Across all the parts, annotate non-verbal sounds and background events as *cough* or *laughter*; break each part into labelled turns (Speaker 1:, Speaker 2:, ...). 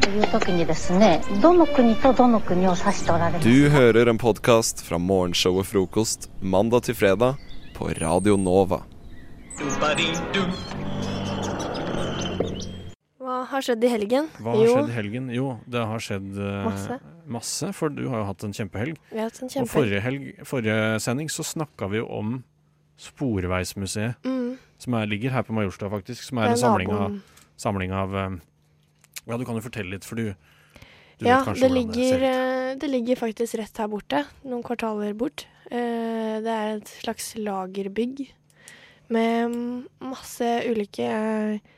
Speaker 1: という時にですねどの国とどの国を指しておられます
Speaker 2: Du hører en podkast fra morgenshowet Frokost mandag til fredag på Radio Nova.
Speaker 3: Hva har skjedd i helgen?
Speaker 4: Hva har skjedd i helgen? Jo, det har skjedd eh,
Speaker 3: Masse.
Speaker 4: masse, for du har jo hatt en kjempehelg.
Speaker 3: Vi har hatt en
Speaker 4: Og
Speaker 3: kjempe...
Speaker 4: forrige, helg, forrige sending så snakka vi jo om Sporveismuseet,
Speaker 3: Mm,
Speaker 4: som er, ligger her på Majorstua, faktisk. Som
Speaker 3: det
Speaker 4: er en samling av,
Speaker 3: naboen.
Speaker 4: samling av eh, Ja, du kan jo fortelle litt, for du, du
Speaker 3: Ja,
Speaker 4: vet kanskje
Speaker 3: det
Speaker 4: hvordan det
Speaker 3: ligger,
Speaker 4: ser ut.
Speaker 3: eh, det ligger faktisk rett her borte, noen kvartaler bort. Eh, Det er et slags lagerbygg med mm, masse ulike eh,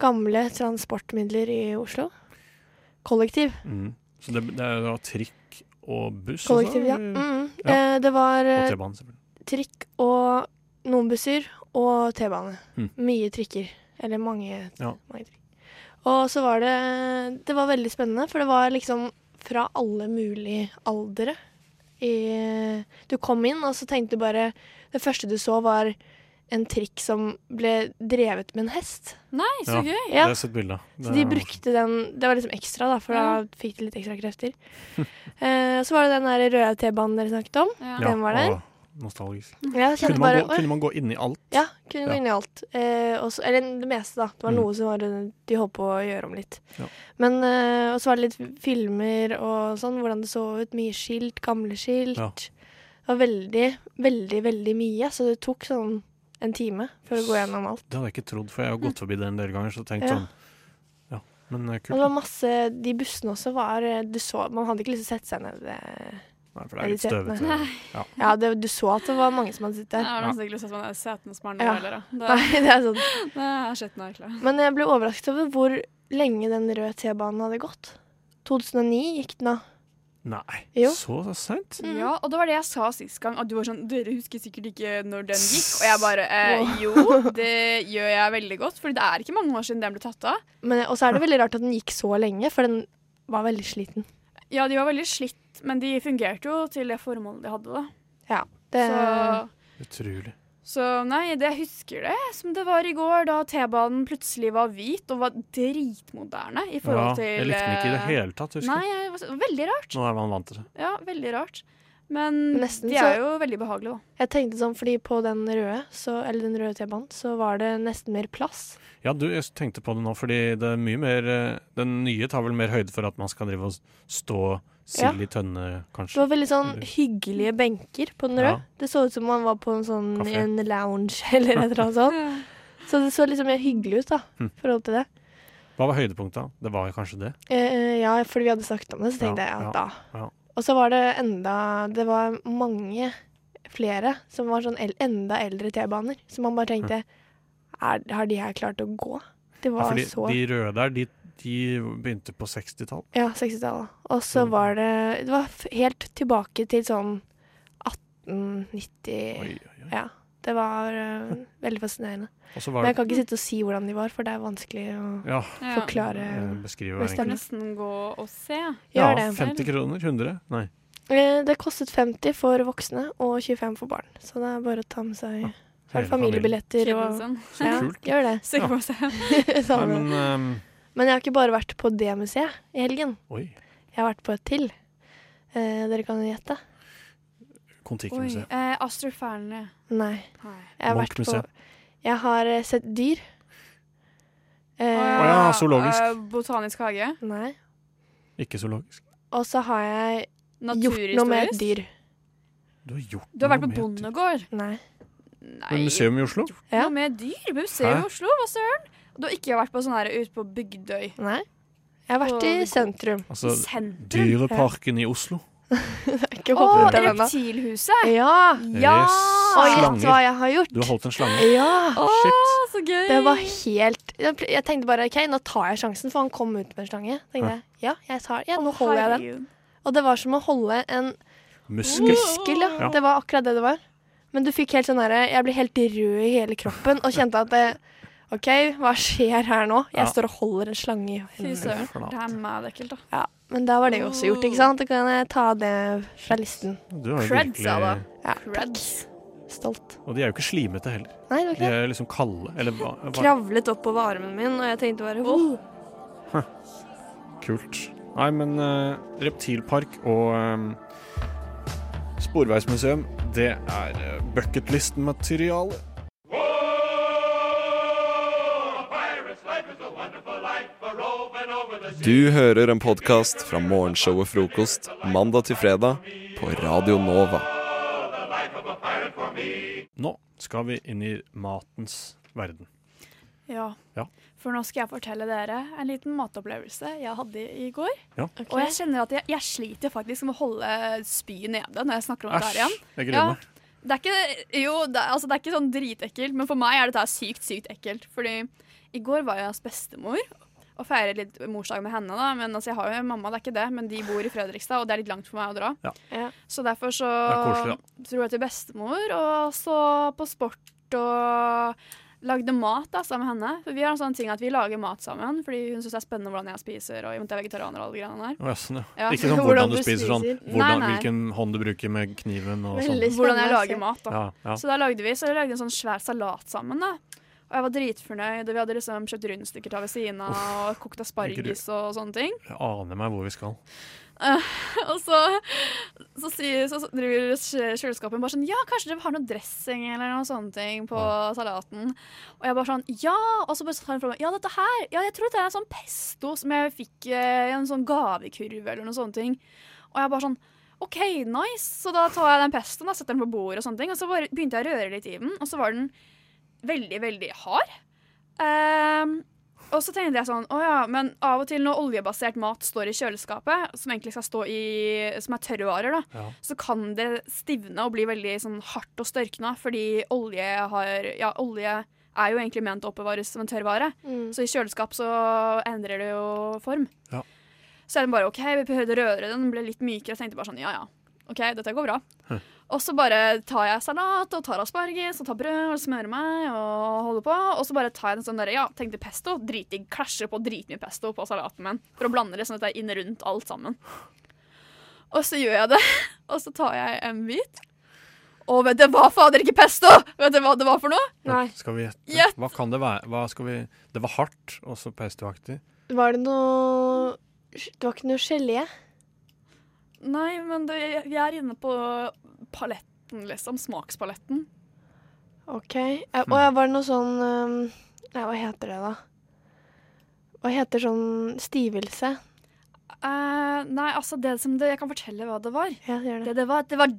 Speaker 3: gamle transportmidler i Oslo. Kollektiv.
Speaker 4: Mm. Så det, det er jo trikk og buss
Speaker 3: Kollektiv, ja.
Speaker 4: også?
Speaker 3: Mm.
Speaker 4: Ja.
Speaker 3: Eh, Det var
Speaker 4: Og
Speaker 3: eh,
Speaker 4: T-banen, selvfølgelig.
Speaker 3: trikk og noen busser og T-bane.
Speaker 4: Mm.
Speaker 3: Mye trikker. Eller mange,
Speaker 4: Ja.
Speaker 3: mange trikker. Og så var det Det var veldig spennende, for det var liksom fra alle mulige aldre. I, du kom inn, og så tenkte du bare Det første du så, var en trikk som ble drevet med en hest.
Speaker 5: Nei, så
Speaker 4: Ja.
Speaker 5: gøy!
Speaker 4: Det
Speaker 3: Ja.
Speaker 4: har jeg sett bilde av.
Speaker 3: Så
Speaker 4: Det
Speaker 3: de
Speaker 4: er-
Speaker 3: brukte den Det var liksom ekstra, da, for da fikk de litt ekstra
Speaker 4: *laughs*
Speaker 3: krefter. Eh, så var det den der røde T-banen dere snakket om.
Speaker 5: Ja.
Speaker 4: ja,
Speaker 3: den Eh, var der.
Speaker 4: og Nostalgisk.
Speaker 3: Ja, jeg
Speaker 4: Kunne
Speaker 3: kjente
Speaker 4: man,
Speaker 3: bare
Speaker 4: gå, kunne man gå inn i alt?
Speaker 3: Ja, kunne gå
Speaker 4: Ja.
Speaker 3: inn i alt. Eh, også, eller det meste, da. Det var
Speaker 4: Mm.
Speaker 3: noe som var, de holdt på å gjøre om litt.
Speaker 4: Ja.
Speaker 3: Men, eh, Og så var det litt filmer og sånn, hvordan det så ut. Mye skilt, gamle skilt.
Speaker 4: Ja.
Speaker 3: Det var veldig, veldig, veldig mye, så det tok sånn en time for å gå gjennom alt. Mm.
Speaker 4: Det hadde jeg ikke trodd, for jeg har gått forbi det en del ganger. Så tenkt
Speaker 3: Ja.
Speaker 4: sånn Ja, men eh,
Speaker 3: Og det var
Speaker 4: kult.
Speaker 3: masse, De bussene også var eh, du så, Man hadde ikke lyst til å sette seg ned ved
Speaker 4: Nei, for det er litt
Speaker 3: irriterende.
Speaker 4: støvete.
Speaker 3: Ja, det, du så at det var mange som hadde sittet
Speaker 5: Jeg
Speaker 3: der.
Speaker 5: har nesten ikke lyst til at man er seten som er nå
Speaker 3: Ja.
Speaker 5: heller. da. Det,
Speaker 3: Nei, det er sånn.
Speaker 5: *laughs* det er skitten av ekle.
Speaker 3: Men jeg ble overrasket over hvor lenge den røde T-banen hadde gått. 2009 gikk den av.
Speaker 4: Nei,
Speaker 3: Jo.
Speaker 4: så seint?
Speaker 3: Mm.
Speaker 5: Ja, og det var det jeg sa sist gang, at du var sånn Dere husker sikkert ikke når den gikk. Og jeg bare eh, Jo, det gjør jeg veldig godt, for det er ikke mange år siden den ble tatt av.
Speaker 3: Men, og så er det veldig rart at den gikk så lenge, for den var veldig sliten.
Speaker 5: Ja, de var veldig slitt, men de fungerte jo til det formålet de hadde, da.
Speaker 3: Det,
Speaker 5: Så
Speaker 4: Utrolig.
Speaker 5: Så nei, det jeg husker det som det var i går, da T-banen plutselig var hvit og var dritmoderne i
Speaker 4: Ja,
Speaker 5: forhold til
Speaker 4: jeg likte den ikke i
Speaker 3: eh,
Speaker 4: det hele tatt,
Speaker 5: tatt.
Speaker 4: husker
Speaker 5: Nei,
Speaker 4: jeg.
Speaker 5: jeg var, veldig rart.
Speaker 4: Nå er man vant til det.
Speaker 5: Ja, veldig rart. Men
Speaker 3: Nesten
Speaker 5: de
Speaker 3: så-
Speaker 5: Mm, er jo veldig behagelige, da.
Speaker 3: jeg tenkte sånn, fordi på den røde, så, eller den røde T-banen, så var det nesten mer plass.
Speaker 4: Ja, du, jeg tenkte på det nå, fordi det er mye mer eh, Den nye tar vel mer høyde for at man skal drive og s- stå
Speaker 3: Ja.
Speaker 4: sild i tønne,
Speaker 3: Det
Speaker 4: kanskje.
Speaker 3: var veldig sånn hyggelige benker på den røde.
Speaker 4: Ja.
Speaker 3: Det så ut som man var på en sånn
Speaker 4: Kafé.
Speaker 3: en lounge *laughs* eller et eller annet sånt.
Speaker 5: *laughs*
Speaker 3: Så det så liksom mer hyggelig ut, da,
Speaker 4: Mm.
Speaker 3: i forhold til det.
Speaker 4: Hva var høydepunktet? da? Det var jo kanskje det?
Speaker 3: Eh, ja, fordi vi hadde snakket om det, så tenkte
Speaker 4: Ja,
Speaker 3: jeg
Speaker 4: ja,
Speaker 3: at da.
Speaker 4: ja.
Speaker 3: Og så var det enda Det var mange flere som var sånn el enda eldre T-baner. Så man bare tenkte er, Har de her klart å gå? Det
Speaker 4: Ja,
Speaker 3: var
Speaker 4: fordi
Speaker 3: så
Speaker 4: de røde der, de, de begynte på 60-tall.
Speaker 3: Ja, 60-tallet. Og så
Speaker 4: Mm.
Speaker 3: var det Det var f- helt tilbake til sånn
Speaker 4: Oi,
Speaker 3: 1890
Speaker 4: oi, oi.
Speaker 3: Ja. Det var eh, veldig fascinerende.
Speaker 4: Og
Speaker 3: Men
Speaker 4: så var
Speaker 3: jeg
Speaker 4: det
Speaker 3: kan ikke sitte og si hvordan de var, for det er vanskelig å
Speaker 4: Ja,
Speaker 5: Ja.
Speaker 3: forklare.
Speaker 4: eh, beskrive
Speaker 3: Bestemt.
Speaker 5: Kan
Speaker 4: egentlig.
Speaker 5: nesten gå og se.
Speaker 4: Ja,
Speaker 3: Gjør det.
Speaker 4: 50 kroner? 100? Nei.
Speaker 3: Eh, Det kostet 50 for voksne og 25 for barn. Så det er bare å ta med seg så er
Speaker 4: Hele
Speaker 3: det familiebilletter.
Speaker 5: Kiden
Speaker 3: Og,
Speaker 5: sin.
Speaker 4: Så
Speaker 3: ja,
Speaker 4: *laughs* kult.
Speaker 3: gjør *laughs* det.
Speaker 5: Stikke på seg.
Speaker 3: *laughs*
Speaker 4: Nei,
Speaker 3: Samme. men,
Speaker 4: men ehm,
Speaker 3: jeg har ikke bare vært på det museet i helgen.
Speaker 4: Oi.
Speaker 3: Jeg har vært på et til. Eh, dere kan jo gjette.
Speaker 5: Oi.
Speaker 4: Kon-Tiki-museet.
Speaker 5: Eh, Astrid Fearnley.
Speaker 3: Nei.
Speaker 5: Nei.
Speaker 3: Jeg har, vært på,
Speaker 4: Munch-museet.
Speaker 3: jeg har eh, sett dyr. Eh,
Speaker 5: Å
Speaker 4: ja, zoologisk.
Speaker 5: Eh, botanisk hage.
Speaker 3: Nei.
Speaker 4: Ikke zoologisk.
Speaker 3: Og så har jeg gjort noe med et
Speaker 5: Naturhistorisk.
Speaker 3: dyr.
Speaker 4: Du har gjort
Speaker 5: Du har vært
Speaker 4: noe
Speaker 5: på
Speaker 4: med det.
Speaker 5: bondegård.
Speaker 3: Nei.
Speaker 5: Nei.
Speaker 4: Men museum i Oslo?
Speaker 3: Ja.
Speaker 5: Noe med dyr? Museum
Speaker 4: Hæ?
Speaker 5: i Oslo? Hva søren? Du har ikke vært på sånn her ute på Bygdøy?
Speaker 3: Nei. Jeg har vært i
Speaker 5: På-
Speaker 3: sentrum.
Speaker 4: Altså
Speaker 5: Sentrum?
Speaker 4: Dyreparken i Oslo.
Speaker 3: Ikke
Speaker 5: Å,
Speaker 3: hoppet
Speaker 4: det
Speaker 3: der ennå.
Speaker 5: reptilhuset!
Speaker 3: Ja!
Speaker 5: Ja!
Speaker 3: Og
Speaker 4: Yes.
Speaker 3: gjett
Speaker 4: Slanger.
Speaker 3: hva jeg har gjort?
Speaker 4: Du har holdt en slange.
Speaker 3: Ja!
Speaker 5: Å,
Speaker 4: Shit.
Speaker 5: så gøy!
Speaker 3: Det var helt Jeg pl- jeg tenkte bare OK, nå tar jeg sjansen, for han kom ut med en slange. Tenkte jeg, ja, jeg tar, ja, nå holder jeg den. Og det var som å holde en
Speaker 4: Muskel.
Speaker 3: muskel. Ja.
Speaker 4: Ja.
Speaker 3: Det var akkurat det det var. Men du fikk helt sånn derre Jeg ble helt rød i hele kroppen og kjente at det, OK, hva skjer her nå?
Speaker 4: Ja.
Speaker 3: Jeg står og holder en slange i
Speaker 5: Fy
Speaker 3: hendene.
Speaker 5: søren.
Speaker 4: Flate.
Speaker 5: Det er meg det er ekkelt, da.
Speaker 3: Ja, men da var det jo også gjort, ikke sant? Da kan jeg ta det fra listen.
Speaker 4: Du har jo
Speaker 5: Creds,
Speaker 4: virkelig
Speaker 5: sa
Speaker 3: Ja,
Speaker 5: Creds.
Speaker 3: stolt.
Speaker 4: Og de er jo ikke slimete heller.
Speaker 3: Nei, det var ikke
Speaker 4: De
Speaker 3: det.
Speaker 4: er liksom kalde. Eller hva? hva-
Speaker 3: Kravlet oppover armen min, og jeg tenkte bare oh,
Speaker 4: Kult. Nei, men eh, reptilpark og eh, sporveismuseum, det er uh, bucketlist-materiale.
Speaker 2: Du hører en podkast fra morgenshow og frokost mandag til fredag på Radio Nova.
Speaker 4: Nå skal vi inn i matens verden.
Speaker 5: Ja.
Speaker 4: Ja.
Speaker 5: For nå skal jeg fortelle dere en liten matopplevelse jeg hadde i går.
Speaker 3: Ok.
Speaker 5: Og jeg kjenner at jeg, jeg sliter faktisk med å holde spyet nede når jeg snakker om det her
Speaker 4: Æsj,
Speaker 5: igjen.
Speaker 4: jeg
Speaker 5: Ja.
Speaker 4: griner.
Speaker 5: Det er ikke, jo, det, er- altså, det er ikke sånn dritekkelt, men for meg er dette her sykt, sykt ekkelt. Fordi i går var jeg hos bestemor og feiret litt morsdag med henne. da Men altså, jeg har jo en mamma, det er ikke det, men de bor i Fredrikstad, og det er litt langt for meg å dra.
Speaker 4: Ja.
Speaker 3: Ja.
Speaker 5: Så derfor så
Speaker 4: Det er koselig,
Speaker 5: dro jeg til bestemor og så på sport og lagde mat da, sammen med henne. For vi har en sånn ting at vi lager mat sammen, fordi hun syns det er spennende hvordan jeg spiser, og i og med at jeg er vegetarianer og alle de greiene der.
Speaker 4: Å, ja, sånn, ja.
Speaker 5: Ja. *laughs*
Speaker 4: Ikke sånn
Speaker 3: Hvordan
Speaker 4: hvordan du
Speaker 3: du
Speaker 4: spiser, sånn
Speaker 3: spiser.
Speaker 4: hvordan,
Speaker 5: Nei, nei.
Speaker 4: hvilken hånd du bruker med kniven og sånn.
Speaker 3: Veldig
Speaker 5: Hvordan jeg
Speaker 3: spennende å se.
Speaker 5: lager mat, da.
Speaker 4: Ja, ja.
Speaker 5: Så da lagde vi så vi lagde en sånn svær salat sammen. da. Og jeg var dritfornøyd, og vi hadde liksom kjøpt rundstykker til ved siden av, og kokt asparges og sånne ting.
Speaker 4: Jeg aner meg hvor vi skal.
Speaker 5: Eh, Og så, så, sier, så driver kj- kjøleskapet bare sånn Ja, kanskje dere har noe dressing eller noen sånne ting på
Speaker 4: Ja.
Speaker 5: salaten. Og jeg bare sånn Ja! Og så bare tar han fra meg Ja, dette her! Ja, jeg tror det er sånn pesto som jeg fikk eh, i en sånn gavekurv eller noen sånne ting. Og jeg bare sånn OK, nice! Så da tar jeg den pestoen og setter den på bordet, og sånne ting. Og så bare begynte jeg å røre litt i den, og så var den veldig, veldig hard. Ehm, og så tenkte jeg sånn, å ja, men av og til når oljebasert mat står i kjøleskapet, som egentlig skal stå i, som er tørrvarer da,
Speaker 4: Ja.
Speaker 5: så kan det stivne og bli veldig sånn hardt og størkna, fordi olje har, ja, olje er jo egentlig ment å oppbevares som en tørrvare.
Speaker 3: Mm.
Speaker 5: Så i kjøleskap så endrer det jo form.
Speaker 4: Ja.
Speaker 5: Så er den bare OK, vi prøvde å røre den, den ble litt mykere. Jeg tenkte bare sånn, ja ja, OK, dette går bra. Og så bare tar jeg salat og tar asparges og tar brød og smører meg og holder på. Og så bare tar jeg en sånn derre, ja, tenkte pesto, dritdigg, klasjer på dritmye pesto på salaten min. For å blande det sånn at det er inn rundt alt sammen. Og så gjør jeg det, *laughs* og så tar jeg en bit. Og vet du hva, fader, ikke pesto! Vet du hva det var for noe?
Speaker 3: Nei.
Speaker 4: Skal vi gjette?
Speaker 5: Gjett!
Speaker 4: Hva kan det være? Hva skal vi Det var hardt, og så pestoaktig.
Speaker 3: Var det noe Det var ikke noe gelé?
Speaker 5: Nei, men det, vi er inne på paletten, liksom. Smakspaletten.
Speaker 3: OK. Eh, Og ja, var det noe sånn ehm, Nei, hva heter det, da? Hva heter sånn stivelse?
Speaker 5: Eh, nei, altså, det som det, jeg kan fortelle hva det var.
Speaker 3: Ja, gjør det.
Speaker 5: Det, det var, det var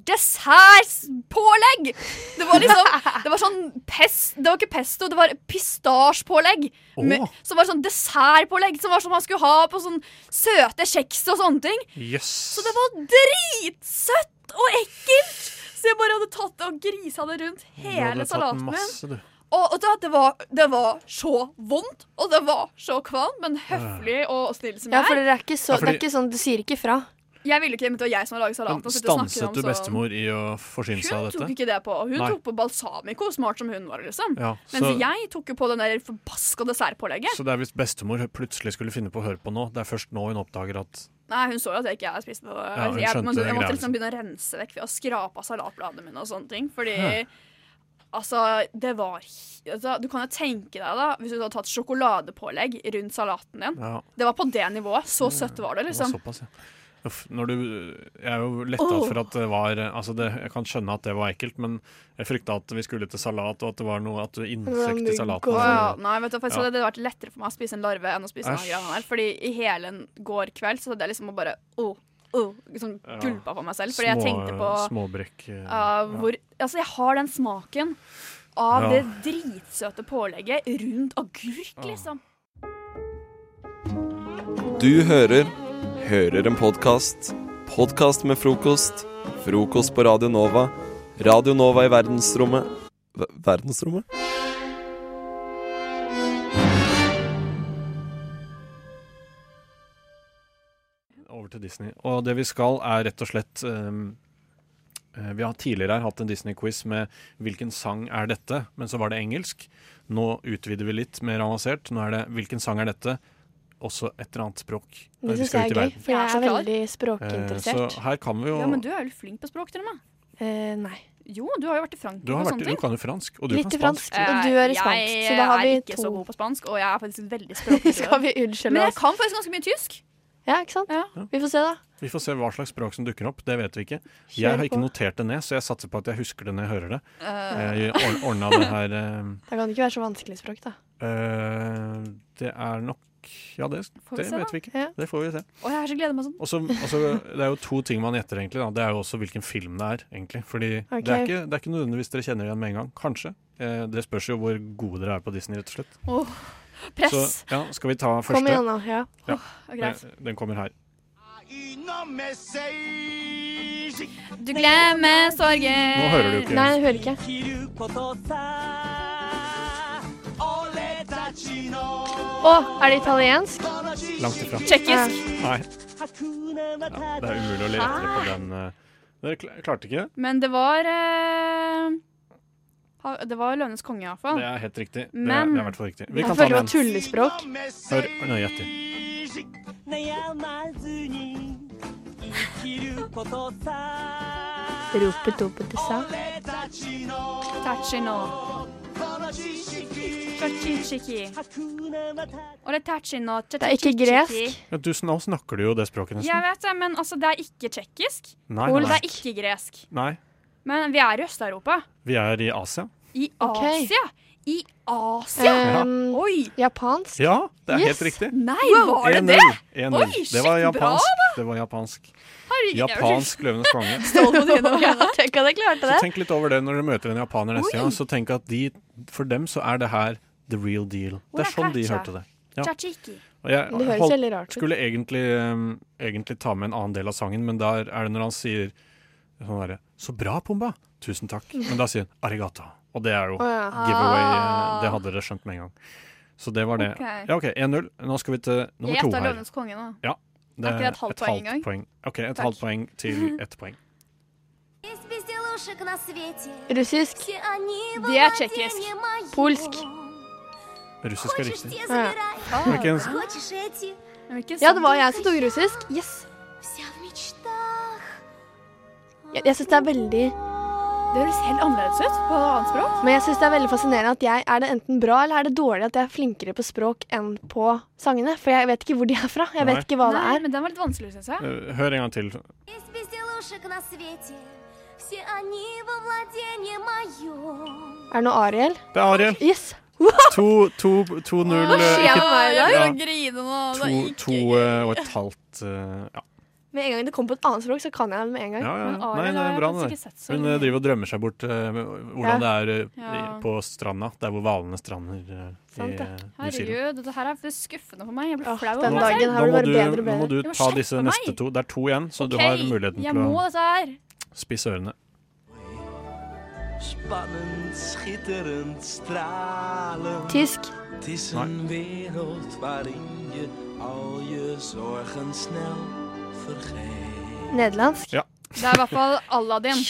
Speaker 5: dessertpålegg! Det var
Speaker 3: *laughs*
Speaker 5: liksom Det var sånn pest Det var ikke pesto, det var pistasjpålegg.
Speaker 4: Åh.
Speaker 5: Med- Som var sånn dessertpålegg som var som man skulle ha på sånn søte kjeks og sånne ting.
Speaker 4: Jøss!
Speaker 5: Så det var dritsøtt og ekkelt! Så jeg bare hadde tatt det og grisa det rundt hele salaten min.
Speaker 4: min.
Speaker 5: Og, og da, det, var, det var så vondt, og det var så kvalmt, men høflig og snill som
Speaker 3: Ja,
Speaker 5: jeg
Speaker 3: for
Speaker 5: er.
Speaker 3: det er ikke så
Speaker 4: Ja, fordi-
Speaker 3: Det er ikke sånn Du sier ikke fra.
Speaker 5: Jeg ville ikke, men det var jeg som hadde laget salaten. og
Speaker 4: Men
Speaker 5: sitte og snakke om
Speaker 4: stanset du
Speaker 5: sånn-
Speaker 4: bestemor i å forsyne seg av
Speaker 5: Hun
Speaker 4: dette?
Speaker 5: tok ikke det på. Hun
Speaker 4: Nei.
Speaker 5: tok på balsamico, smart som hun var, liksom.
Speaker 4: Ja,
Speaker 5: Mens
Speaker 4: så-
Speaker 5: jeg tok jo på den der forbaska dessertpålegget.
Speaker 4: Så det er hvis bestemor plutselig skulle finne på å høre på nå, det er først nå hun oppdager at
Speaker 5: Nei, hun så jo at jeg ikke hadde spist det.
Speaker 4: hun
Speaker 5: jeg, jeg,
Speaker 4: skjønte
Speaker 5: måtte- jeg
Speaker 4: greia,
Speaker 5: måtte liksom
Speaker 4: liksom.
Speaker 5: begynne å rense vekk ved å skrape av salatbladene mine og sånne ting. Fordi altså, det var hi- altså, Du kan jo tenke deg, da, hvis du hadde tatt sjokoladepålegg rundt salaten din.
Speaker 4: ja,
Speaker 5: Det var på det nivået. Så søtt var det,
Speaker 4: det var
Speaker 5: liksom.
Speaker 4: såpass, ja. Uff, når du, jeg er jo letta for at det var altså det, Jeg kan skjønne at det var ekkelt, men jeg frykta at vi skulle til salat, og at det var noe at det var
Speaker 3: Sånn
Speaker 4: insekt i
Speaker 3: mygg
Speaker 4: Mm. salaten.
Speaker 3: og-
Speaker 5: Å, ja.
Speaker 4: og-
Speaker 5: Nei, vet du, faktisk,
Speaker 4: Ja.
Speaker 5: Det hadde vært lettere for meg å spise en larve enn å spise noe
Speaker 4: Æsj.
Speaker 5: greiene her. Fordi i hele en går kveld så hadde jeg liksom bare oh, oh, liksom
Speaker 4: Ja.
Speaker 5: gulpa på meg selv. Fordi jeg
Speaker 4: små-
Speaker 5: tenkte på
Speaker 4: Småbrekk. eh,
Speaker 5: ah,
Speaker 4: ja.
Speaker 5: hvor Altså, jeg har den smaken av
Speaker 4: Ja.
Speaker 5: det dritsøte pålegget rundt agurk, liksom.
Speaker 2: Du hører Hører en podkast. Podkast med frokost. Frokost på Radio Nova. Radio Nova i verdensrommet Ver- Verdensrommet?
Speaker 4: over til Disney. Og det vi skal, er rett og slett ehm, eh, Vi har tidligere her hatt en Disney-quiz med 'Hvilken sang er dette?', men så var det engelsk. Nå utvider vi litt mer avansert. Nå er det 'Hvilken sang er dette?' Også et eller annet språk.
Speaker 3: Det
Speaker 4: når vi
Speaker 3: syns
Speaker 4: skal
Speaker 3: jeg
Speaker 4: ut
Speaker 3: er
Speaker 4: i
Speaker 3: gøy,
Speaker 4: verden.
Speaker 3: for
Speaker 5: Jeg er
Speaker 3: jeg
Speaker 5: så
Speaker 3: er
Speaker 5: klar.
Speaker 3: veldig
Speaker 4: Eh, Så
Speaker 3: språkinteressert.
Speaker 4: her kan vi jo
Speaker 5: Ja, men du er jo flink på språk, til og med.
Speaker 3: Eh, nei.
Speaker 5: Jo, du har jo vært i
Speaker 4: Du,
Speaker 5: Frankrike
Speaker 4: har
Speaker 5: og
Speaker 4: vært,
Speaker 5: sånne
Speaker 4: du
Speaker 5: ting.
Speaker 4: kan jo fransk, og du
Speaker 3: Litt
Speaker 4: kan
Speaker 3: i
Speaker 4: spansk.
Speaker 3: fransk, og du er i
Speaker 5: Eh,
Speaker 3: spansk, så da har
Speaker 5: Jeg
Speaker 3: vi
Speaker 5: er ikke så
Speaker 3: to. *laughs*
Speaker 5: god på spansk, og jeg er faktisk veldig språklig.
Speaker 3: Skal vi unnskylde
Speaker 5: Men jeg
Speaker 3: oss?
Speaker 5: kan faktisk ganske mye tysk.
Speaker 3: Ja, ikke sant?
Speaker 5: Ja.
Speaker 3: Vi får se, da.
Speaker 4: Vi får se hva slags språk som dukker opp. Det vet vi ikke.
Speaker 3: Kjør
Speaker 4: Jeg har ikke
Speaker 3: på.
Speaker 4: notert det ned, så jeg satser på at jeg husker det når jeg hører det.
Speaker 5: Eh,
Speaker 4: Jeg or- ordna det her eh,
Speaker 3: Da kan det ikke være så vanskelig språk, da.
Speaker 4: eh, Det er nok Ja, det,
Speaker 5: Får vi
Speaker 4: det
Speaker 5: se,
Speaker 4: vet
Speaker 5: da.
Speaker 4: vi ikke.
Speaker 3: Ja.
Speaker 4: Det får vi se.
Speaker 5: Og jeg har så gleda meg sånn.
Speaker 4: Og så- og så- det er jo to ting man gjetter, egentlig. Da. Det er jo også hvilken film det er. egentlig. Fordi det, er
Speaker 3: Ok.
Speaker 4: ikke, det er ikke nødvendigvis dere kjenner igjen med en gang. Kanskje. Eh, det spørs jo hvor gode dere er på Disney, rett og slett.
Speaker 5: Press.
Speaker 4: Så ja, skal vi ta
Speaker 3: Kom
Speaker 4: første?
Speaker 3: igjen, da. Ja.
Speaker 5: Greit.
Speaker 4: Eh, Den kommer her.
Speaker 5: Du glemmer sorgen.
Speaker 4: Nå hører du jo ikke.
Speaker 3: Nei, jeg hører ikke.
Speaker 6: 生きることさ俺たちの
Speaker 3: Å, er det italiensk?
Speaker 6: この自
Speaker 4: Langt ifra.
Speaker 6: 信
Speaker 5: Tsjekkisk.
Speaker 4: Nei,
Speaker 6: 白なまた
Speaker 4: det er umulig å lete på den. eh. Dere kl- klarte ikke det?
Speaker 5: Men det var eh, ha- Det var Løvenes konge, iallfall.
Speaker 4: Det er helt riktig. det, er,
Speaker 5: Men-
Speaker 4: det er i hvert fall riktig. Vi
Speaker 3: Jeg
Speaker 5: *laughs*
Speaker 4: kan ta
Speaker 3: føler det
Speaker 4: den.
Speaker 3: var tullespråk.
Speaker 6: メッセー
Speaker 4: Hør nøye etter.
Speaker 6: ジ悩まずに生きることさ
Speaker 3: Ropet opp til sa.
Speaker 6: 俺たちの
Speaker 5: Tachino.
Speaker 6: この知識
Speaker 5: Tachitsjiki.
Speaker 6: 白なまた
Speaker 5: Og det er Tachino.
Speaker 3: Det er ikke gresk.
Speaker 4: Ja, du, nå snakker du jo det språket
Speaker 5: Jeg
Speaker 4: nesten.
Speaker 5: vet det, men altså, det er ikke tsjekkisk.
Speaker 4: Nei,
Speaker 5: Og
Speaker 4: nei,
Speaker 5: det
Speaker 4: nei.
Speaker 5: er ikke gresk.
Speaker 4: nei.
Speaker 5: Men vi er i Øst-Europa.
Speaker 4: Vi er i Asia.
Speaker 5: I
Speaker 3: Ok.
Speaker 5: Asia. I Asia!
Speaker 3: Um,
Speaker 5: Oi!
Speaker 3: japansk.
Speaker 4: Ja, det er
Speaker 3: Yes.
Speaker 4: helt riktig.
Speaker 5: Nei, var det
Speaker 4: 1-0.
Speaker 5: det?
Speaker 4: 1-0.
Speaker 5: Oi,
Speaker 4: det var
Speaker 5: shit, bra,
Speaker 4: japansk. det var japansk.
Speaker 5: Herregud, jeg var så
Speaker 4: Japansk Løvenes
Speaker 3: *laughs*
Speaker 4: konge.
Speaker 3: Ja, tenk
Speaker 5: *laughs*
Speaker 3: at jeg klarte
Speaker 4: Så
Speaker 3: det.
Speaker 4: tenk litt over det når dere møter en japaner neste
Speaker 5: Oi.
Speaker 4: gang. Så tenk at de, for dem så er det her the real deal. Det er sånn de hørte det. Ja.
Speaker 5: Tzatziki.
Speaker 4: Og
Speaker 3: Det
Speaker 4: jeg
Speaker 3: høres
Speaker 4: holdt,
Speaker 3: veldig rart ut.
Speaker 4: skulle egentlig, um, egentlig ta med en annen del av sangen, men der er det når han sier sånn derre Så bra, Pumba! Tusen takk. Men da sier han arigato. Og det er jo
Speaker 3: Å ja.
Speaker 4: giveaway. eh,
Speaker 5: Ah.
Speaker 4: Det hadde dere skjønt med en gang. Så det var det.
Speaker 5: Ok.
Speaker 4: Ja, OK, 1-0. Nå skal vi til
Speaker 5: Jeg
Speaker 4: nummer to
Speaker 5: gjetta
Speaker 4: her.
Speaker 5: Løvenes konge nå.
Speaker 4: Det
Speaker 5: Er ikke det et halvt poeng engang?
Speaker 4: poeng. OK, et
Speaker 5: Takk.
Speaker 4: halvt poeng
Speaker 5: *laughs*
Speaker 4: til ett poeng.
Speaker 7: Есть безделушек на свете.
Speaker 3: Russisk.
Speaker 7: Все они
Speaker 5: Где чекист?
Speaker 7: владение мое.
Speaker 3: Пульск.
Speaker 4: Russisk er
Speaker 7: Хочешь,
Speaker 4: riktig.
Speaker 7: те забирай.
Speaker 4: Hvilken,
Speaker 7: Хочешь, эти.
Speaker 5: Men hvilken
Speaker 3: Ja,
Speaker 5: sang?
Speaker 3: det var jeg som tok russisk. Yes.
Speaker 7: Вся в мечтах.
Speaker 3: Jeg, jeg syns det er veldig
Speaker 5: Det høres helt annerledes ut på annet språk.
Speaker 3: Men jeg synes det er veldig fascinerende at jeg er det enten bra eller er det dårlig at jeg er flinkere på språk enn på sangene. For jeg vet ikke hvor de er fra. Jeg
Speaker 4: Nei.
Speaker 3: vet ikke hva det
Speaker 5: Nei,
Speaker 3: er.
Speaker 5: men den var litt vanskelig, syns jeg.
Speaker 4: eh, hør en gang til.
Speaker 7: Есть безделушек на свете. Все они во владение моем.
Speaker 3: Er det noe Ariel?
Speaker 4: Det er Ariel.
Speaker 3: Yes!
Speaker 4: 2-0.
Speaker 3: skjer
Speaker 4: eh, Ikke
Speaker 3: med meg i dag?
Speaker 4: Ja.
Speaker 5: grine nå. altså.
Speaker 4: to, to eh, og et halvt eh, Ja.
Speaker 3: Med en gang det kommer på et annet språk, så kan jeg det med en gang.
Speaker 4: ja, ja.
Speaker 5: Men Ariel
Speaker 4: Nei, det
Speaker 5: har
Speaker 4: er
Speaker 5: jeg
Speaker 4: bra,
Speaker 5: faktisk
Speaker 4: det der.
Speaker 5: ikke sett så
Speaker 4: Hun
Speaker 3: sånn-
Speaker 4: eh,
Speaker 5: lenge.
Speaker 4: driver og drømmer seg bort eh,
Speaker 3: Ja.
Speaker 4: hvordan det er eh, i-
Speaker 5: Ja.
Speaker 4: på stranda, der hvor hvalene strander eh,
Speaker 3: Sant
Speaker 4: i
Speaker 3: det.
Speaker 4: eh, New Zealand.
Speaker 5: Herregud, dette her er faktisk skuffende for meg. Jeg
Speaker 3: Åh,
Speaker 5: blir flau.
Speaker 3: den
Speaker 5: over meg
Speaker 3: dagen
Speaker 5: selv.
Speaker 3: har det
Speaker 4: må
Speaker 3: vært
Speaker 4: du,
Speaker 3: bedre og
Speaker 4: nå må du
Speaker 5: Jeg
Speaker 3: bedre.
Speaker 5: må
Speaker 4: ta
Speaker 5: slippe
Speaker 4: disse
Speaker 5: meg.
Speaker 4: neste to. Det er to igjen, så du har
Speaker 5: Ok,
Speaker 4: muligheten
Speaker 5: jeg
Speaker 4: til
Speaker 5: må
Speaker 4: å
Speaker 5: dette her.
Speaker 4: spisse ørene.
Speaker 6: Spannend, schitterend, stralen.
Speaker 3: Tysk.
Speaker 6: Het is een wereld waarin je al je zorgen snel vergeet.
Speaker 3: Nederlandsk.
Speaker 5: Det er i hvert fall
Speaker 4: *laughs*
Speaker 5: Aladdin.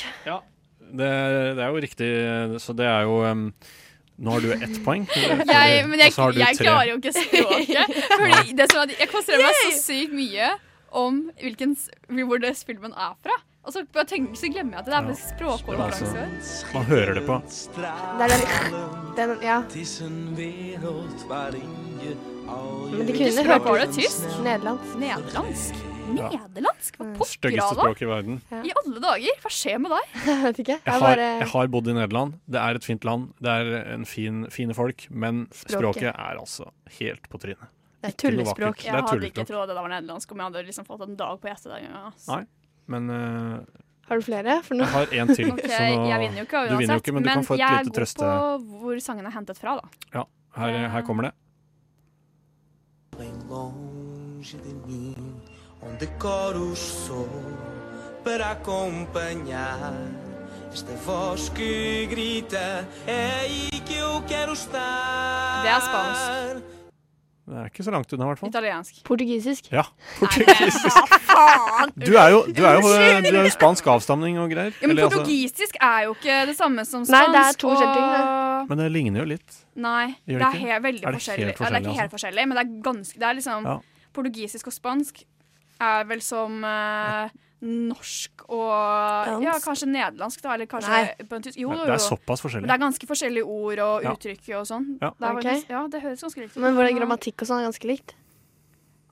Speaker 4: Det, er- det er jo riktig, eh, så det er jo em, Nå har du ett poeng.
Speaker 5: *laughs* Jeg, men jeg,
Speaker 4: og så har du
Speaker 5: jeg
Speaker 4: tre.
Speaker 5: klarer jo ikke språket. Fordi det som er, at jeg konsentrerer meg så sykt mye om hvilken, s- hvor det filmen er fra. Og så, bare tenk, så glemmer jeg at det er
Speaker 4: Ja.
Speaker 5: faktisk språkkonferanse.
Speaker 4: Altså, Man hører det på.
Speaker 6: Stralen.
Speaker 3: Det er den, den Ja.
Speaker 6: Het is een wereld waarin je al
Speaker 3: Men de
Speaker 6: je
Speaker 3: kunne
Speaker 5: språk
Speaker 3: hørt
Speaker 5: var
Speaker 6: zorgen
Speaker 5: det tyst?
Speaker 6: snel
Speaker 3: Nederlandsk.
Speaker 5: Nederlandsk? Nederlandsk? Hva
Speaker 4: Mm. Styggeste
Speaker 5: pokker av da?
Speaker 4: språk i verden.
Speaker 5: I alle dager? Hva skjer med deg?
Speaker 3: *laughs* Jeg vet ikke.
Speaker 4: Jeg
Speaker 3: Jeg
Speaker 4: har,
Speaker 3: bare
Speaker 4: jeg har bodd i Nederland. Det er et fint land. Det er en fin, fine folk. Men språket,
Speaker 3: Språket
Speaker 4: er altså helt på trynet.
Speaker 3: Det er
Speaker 4: ikke noe
Speaker 3: tullespråk.
Speaker 4: vakkert.
Speaker 5: Jeg hadde
Speaker 4: tullespråk.
Speaker 5: ikke trodd det var nederlandsk om jeg hadde liksom fått en dag på gjestedagen.
Speaker 4: Nei. Men eh,
Speaker 3: Har du flere? For nå
Speaker 4: jeg har én til.
Speaker 5: *laughs* Ok,
Speaker 4: så nå-
Speaker 5: jeg vinner jo ikke
Speaker 4: du vinner jo
Speaker 5: uansett,
Speaker 4: ikke, men du kan få et
Speaker 5: jeg er
Speaker 4: lite
Speaker 5: god
Speaker 4: trøste-
Speaker 5: på hvor sangene er hentet fra, da.
Speaker 4: ja, her, her kommer det.
Speaker 6: Bem longe de mim, onde coros sou para acompanhar esta voz que grita. É aí que eu quero estar.
Speaker 5: Det er spansk.
Speaker 4: Det er ikke så langt unna, i hvert fall.
Speaker 5: Italiensk.
Speaker 3: portugisisk.
Speaker 4: *laughs* Ja, portugisisk. Du er jo, du er jo, eh, du er jo spansk avstamning og greier.
Speaker 5: Ja, men
Speaker 4: Eller, altså,
Speaker 5: portugisisk er jo ikke det samme som
Speaker 3: Nei,
Speaker 5: spansk.
Speaker 3: det er to
Speaker 5: og-
Speaker 3: forskjellige
Speaker 4: men det ligner jo litt.
Speaker 5: Nei, det
Speaker 4: Gjør det
Speaker 5: er
Speaker 4: ikke?
Speaker 5: helt, veldig
Speaker 4: Er det helt
Speaker 5: forskjellig. Ja, det er
Speaker 4: forskjellig, altså?
Speaker 5: ikke helt forskjellig, men det er ganske Det er liksom
Speaker 4: Ja.
Speaker 5: Portugisisk og spansk er vel som eh, norsk og Ja, kanskje nederlandsk, da, eller kanskje
Speaker 3: Nei.
Speaker 5: på en tysk Jo, jo,
Speaker 4: Det er
Speaker 5: jo.
Speaker 4: såpass
Speaker 5: Men
Speaker 4: forskjellig.
Speaker 5: det er ganske forskjellige ord og
Speaker 4: Ja.
Speaker 5: uttrykk og sånn.
Speaker 4: Ja.
Speaker 5: Det er
Speaker 3: Ok.
Speaker 5: faktisk- ja, det høres ganske likt ut.
Speaker 3: Men hvordan grammatikk og sånn er ganske likt.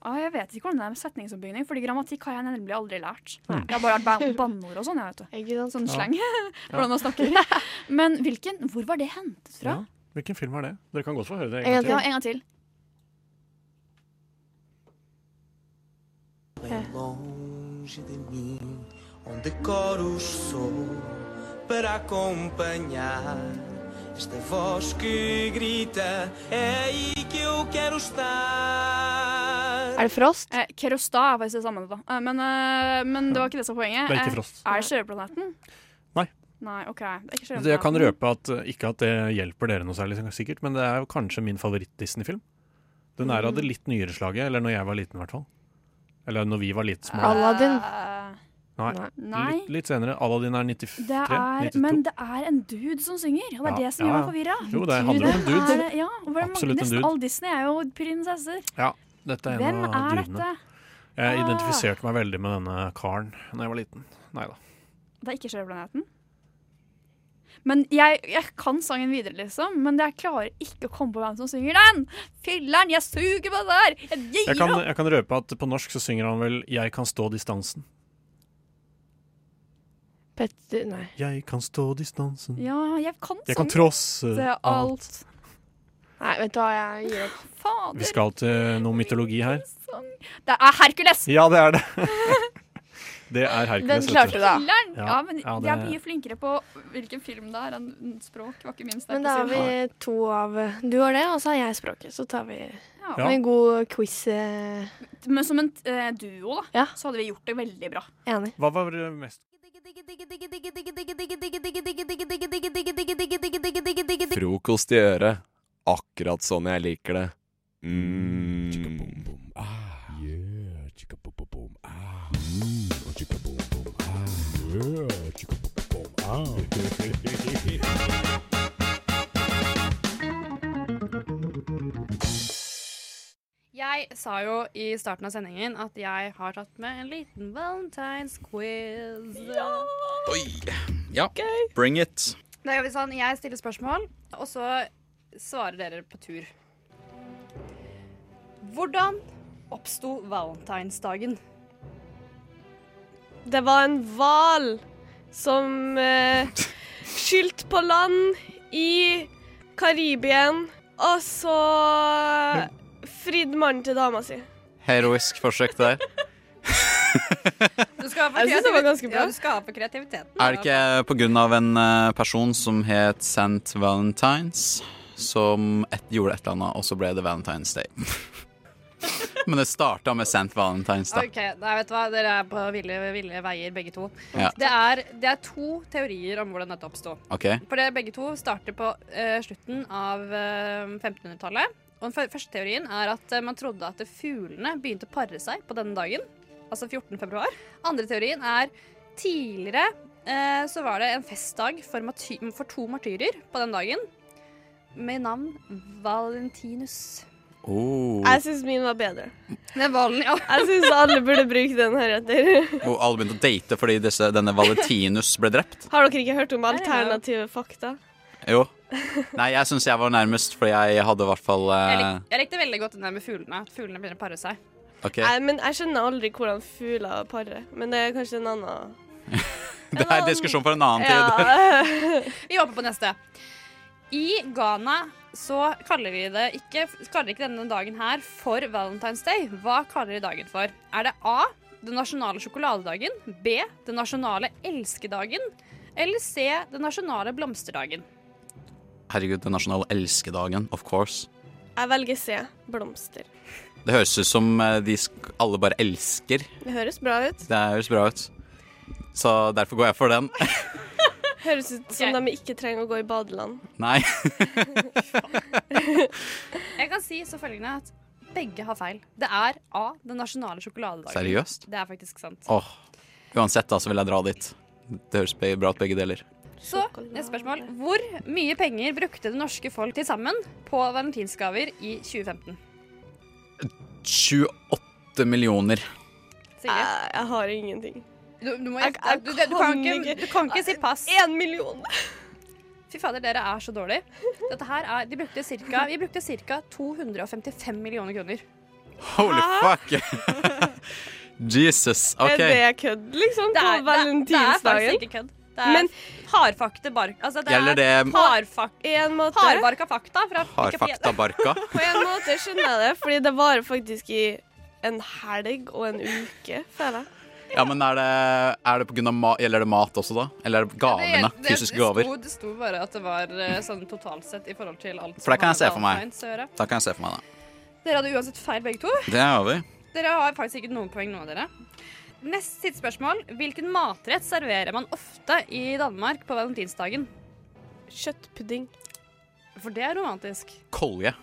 Speaker 5: Ah, jeg vet ikke hvordan det er med setningsoppbygning, fordi grammatikk har jeg nemlig aldri lært.
Speaker 4: Mm.
Speaker 5: Jeg har bare lært ban- banneord og sånn. jeg vet du.
Speaker 3: Ikke sant?
Speaker 5: Sånn slang. *laughs* hvordan man snakker. Men hvilken, hvor var det hentet fra?
Speaker 4: Ja. Hvilken film er det? Dere kan godt få høre det.
Speaker 3: En gang til.
Speaker 5: Ja, en gang til.
Speaker 6: Bem longe de mim, onde coros sou para acompanhar esta voz que grita. É aí que eu quero estar.
Speaker 3: Er det Frost?
Speaker 5: Eh, Kerosta er faktisk det samme, da. Eh, men, eh, men det var ikke det som var poenget.
Speaker 4: Det er
Speaker 5: Eh,
Speaker 4: ikke Frost.
Speaker 5: Er det Sjørøverplaneten?
Speaker 4: Nei.
Speaker 5: Nei, OK. Det er ikke
Speaker 4: Så Altså, Jeg kan
Speaker 5: Sjørøverplaneten.
Speaker 4: røpe at eh, ikke at det hjelper dere noe særlig, sikkert, men det er jo kanskje min favoritt-Disney-film. Den er av
Speaker 5: Mm.
Speaker 4: det litt nyere slaget, eller når jeg var liten i hvert fall. Eller når vi var litt små.
Speaker 3: Aladdin?
Speaker 5: Eh,
Speaker 4: Nei,
Speaker 5: Nei.
Speaker 4: Litt, litt senere. Aladdin er 93?
Speaker 5: Det er,
Speaker 4: 92.
Speaker 5: men det er en dude som synger, og det er
Speaker 4: Ja,
Speaker 5: det som
Speaker 4: ja,
Speaker 5: gjør
Speaker 4: ja.
Speaker 5: meg forvirra.
Speaker 4: Jo, det handler om en dude.
Speaker 5: Er, ja, og hvem-
Speaker 4: Absolutt en
Speaker 5: nesten
Speaker 4: dude.
Speaker 5: Alle Disney er jo prinsesser.
Speaker 4: Ja, dette er
Speaker 5: Hvem
Speaker 4: en av
Speaker 5: er
Speaker 4: dudene.
Speaker 5: dette? Ah.
Speaker 4: Jeg identifiserte meg veldig med denne karen da jeg var liten. Nei da.
Speaker 5: Det er ikke Sjørøverplaneten. Men jeg, jeg kan sangen videre, liksom, men jeg klarer ikke å komme på hvem som synger den! Filler'n, jeg suger på det her! Jeg gir
Speaker 4: Jeg kan,
Speaker 5: opp!
Speaker 4: jeg kan røpe at på norsk så synger han vel 'Jeg kan stå distansen'.
Speaker 3: Petter Nei.
Speaker 4: Jeg kan stå distansen.
Speaker 5: Ja, jeg kan
Speaker 4: Jeg kan
Speaker 5: sånn
Speaker 4: trosse
Speaker 5: det er
Speaker 4: alt.
Speaker 5: alt.
Speaker 3: Nei, vet du hva, jeg gir opp.
Speaker 5: Fader,
Speaker 4: Vi skal til noe mytologi her.
Speaker 8: sånn.
Speaker 5: sang. Det er Hercules!
Speaker 4: Ja,
Speaker 8: *laughs*
Speaker 3: *laughs*
Speaker 4: det er det. Det er Hercules.
Speaker 3: Den
Speaker 4: vet
Speaker 3: klarte du, da.
Speaker 5: Filler'n!
Speaker 4: Ja,
Speaker 5: Ja, men
Speaker 4: ja,
Speaker 5: jeg er
Speaker 4: det-
Speaker 5: mye flinkere på hvilken film det er enn språk. var ikke min sterke
Speaker 3: Men da har
Speaker 5: side.
Speaker 3: vi to av Du har det, og så har jeg språket. Så tar vi
Speaker 5: Ja.
Speaker 4: Ja.
Speaker 3: en god quiz. eh,
Speaker 5: Men som en eh, duo, da,
Speaker 3: Ja.
Speaker 5: så hadde vi gjort det veldig bra.
Speaker 3: Enig.
Speaker 4: Hva var det mest
Speaker 2: Frokost i øret. Akkurat sånn jeg liker det. Mm.
Speaker 9: Jeg sa jo i starten av sendingen at jeg har tatt med en liten valentines quiz.
Speaker 10: Oi. Ja, bring it.
Speaker 9: Da gjør vi sånn, jeg stiller spørsmål, og så svarer dere på tur. Hvordan oppsto valentinsdagen?
Speaker 11: Det var en hval som eh, skylt på land i Karibien, og så fridde mannen til dama si.
Speaker 10: Heroisk forsøk der.
Speaker 9: Du skal
Speaker 11: Jeg synes det var ganske bra.
Speaker 9: Ja, du skal ha for kreativiteten.
Speaker 10: Er det ikke på grunn av en eh, person som het St. Valentines, som et, gjorde et eller annet, og så ble det Valentine's Day? *laughs* Men det starta med St. Valentines, da.
Speaker 9: OK, nei, vet du hva? dere er på ville, ville veier, begge to.
Speaker 10: Ja.
Speaker 9: Det, er, det er to teorier om hvordan dette oppsto.
Speaker 10: OK?
Speaker 9: For det begge to starter på eh, slutten av eh, 1500-tallet. Og den fyr- første teorien er at eh, man trodde at fuglene begynte å pare seg på denne dagen. Altså 14. februar. Andre teorien er tidligere eh, så var det en festdag for, maty for to martyrer på den dagen. Med navn Valentinus.
Speaker 10: Oh.
Speaker 11: Jeg syns min var bedre.
Speaker 9: Det er valen, ja.
Speaker 11: Jeg syns alle burde bruke den heretter.
Speaker 10: Og alle begynte å date fordi disse, denne Valentinus ble drept?
Speaker 11: Har dere ikke hørt om
Speaker 9: er det jo.
Speaker 11: alternative fakta?
Speaker 10: Jo. Nei, jeg syns jeg var nærmest, fordi jeg hadde i hvert fall eh,
Speaker 9: Jeg, lik jeg likte veldig godt den der med fuglene. At fuglene begynner å pare seg.
Speaker 10: OK.
Speaker 11: Nei, men Jeg skjønner aldri hvordan fugler parer, men det er kanskje en annen
Speaker 10: Det er diskusjon for en annen tid.
Speaker 11: ja.
Speaker 9: *laughs* Vi håper på neste. I Ghana så kaller de det ikke, kaller de ikke denne dagen her for Valentine's Day. Hva kaller de dagen for? Er det A. Den nasjonale sjokoladedagen. B. Den nasjonale elskedagen. Eller C. Den nasjonale blomsterdagen.
Speaker 10: Herregud, den nasjonale elskedagen, of course.
Speaker 11: Jeg velger C. Blomster.
Speaker 10: Det høres ut som eh, de sk alle bare elsker.
Speaker 11: Det høres bra
Speaker 9: *laughs*
Speaker 11: ut.
Speaker 10: Det høres bra ut. Så derfor går jeg for den. *laughs*
Speaker 11: Høres ut som de ikke trenger å gå i
Speaker 9: *laughs*
Speaker 11: badeland.
Speaker 10: Nei.
Speaker 9: Jeg kan si så følgende at begge har feil. Det er A. Den nasjonale sjokoladedagen.
Speaker 10: Seriøst?
Speaker 9: Det er faktisk sant.
Speaker 10: Åh, Uansett, da, så vil jeg dra dit. Det høres be- bra ut, begge deler.
Speaker 9: Så, neste spørsmål. Hvor mye penger brukte det norske folk til sammen på valentinsgaver i 2015?
Speaker 10: 28 millioner.
Speaker 9: Silje?
Speaker 11: Jeg, jeg har ingenting.
Speaker 9: Du, du, må,
Speaker 11: Jeg-
Speaker 9: gjette.
Speaker 11: jeg
Speaker 9: du, du, du, kan
Speaker 11: kan
Speaker 9: ikke,
Speaker 11: ikke.
Speaker 9: du kan ikke si pass.
Speaker 11: Én million!
Speaker 9: Fy fader, dere er så dårlige. Dette her er, de brukte cirka, vi brukte ca. 255 millioner kroner.
Speaker 10: Holy fuck! *laughs* Jesus. OK.
Speaker 11: Er det kødd, liksom?
Speaker 9: Det
Speaker 11: På
Speaker 9: er- det- Det er
Speaker 11: valentinsdagen?
Speaker 9: faktisk ikke kødd. Det er
Speaker 11: Men-
Speaker 9: hardfakte bark... Altså, det
Speaker 10: Gjelder
Speaker 9: er
Speaker 10: det-
Speaker 9: hardfak...
Speaker 11: måte-
Speaker 9: Hardbarka fakta fra
Speaker 10: Har fakta barka?
Speaker 11: På en måte skjønner jeg det, fordi det varer faktisk i en helg og en uke, føler jeg.
Speaker 10: Ja, men er det, er det på grunn av ma gjelder det mat også, da? Eller er det gavene?
Speaker 9: Det- det-
Speaker 10: Fysiske
Speaker 9: det sto-
Speaker 10: gaver?
Speaker 9: Det sto bare at det var eh, sånn totalt sett i forhold til alt
Speaker 10: For det
Speaker 9: som
Speaker 10: kan jeg
Speaker 9: har
Speaker 10: se for meg.
Speaker 9: Valentine's å gjøre.
Speaker 10: Da kan jeg se for meg det.
Speaker 9: Dere hadde uansett feil begge to.
Speaker 10: Det har vi.
Speaker 9: Dere har faktisk ikke noen poeng, noen av dere. Nest siste spørsmål. Hvilken matrett serverer man ofte i Danmark på valentinsdagen?
Speaker 11: Kjøttpudding.
Speaker 9: For det er romantisk.
Speaker 10: Kolje.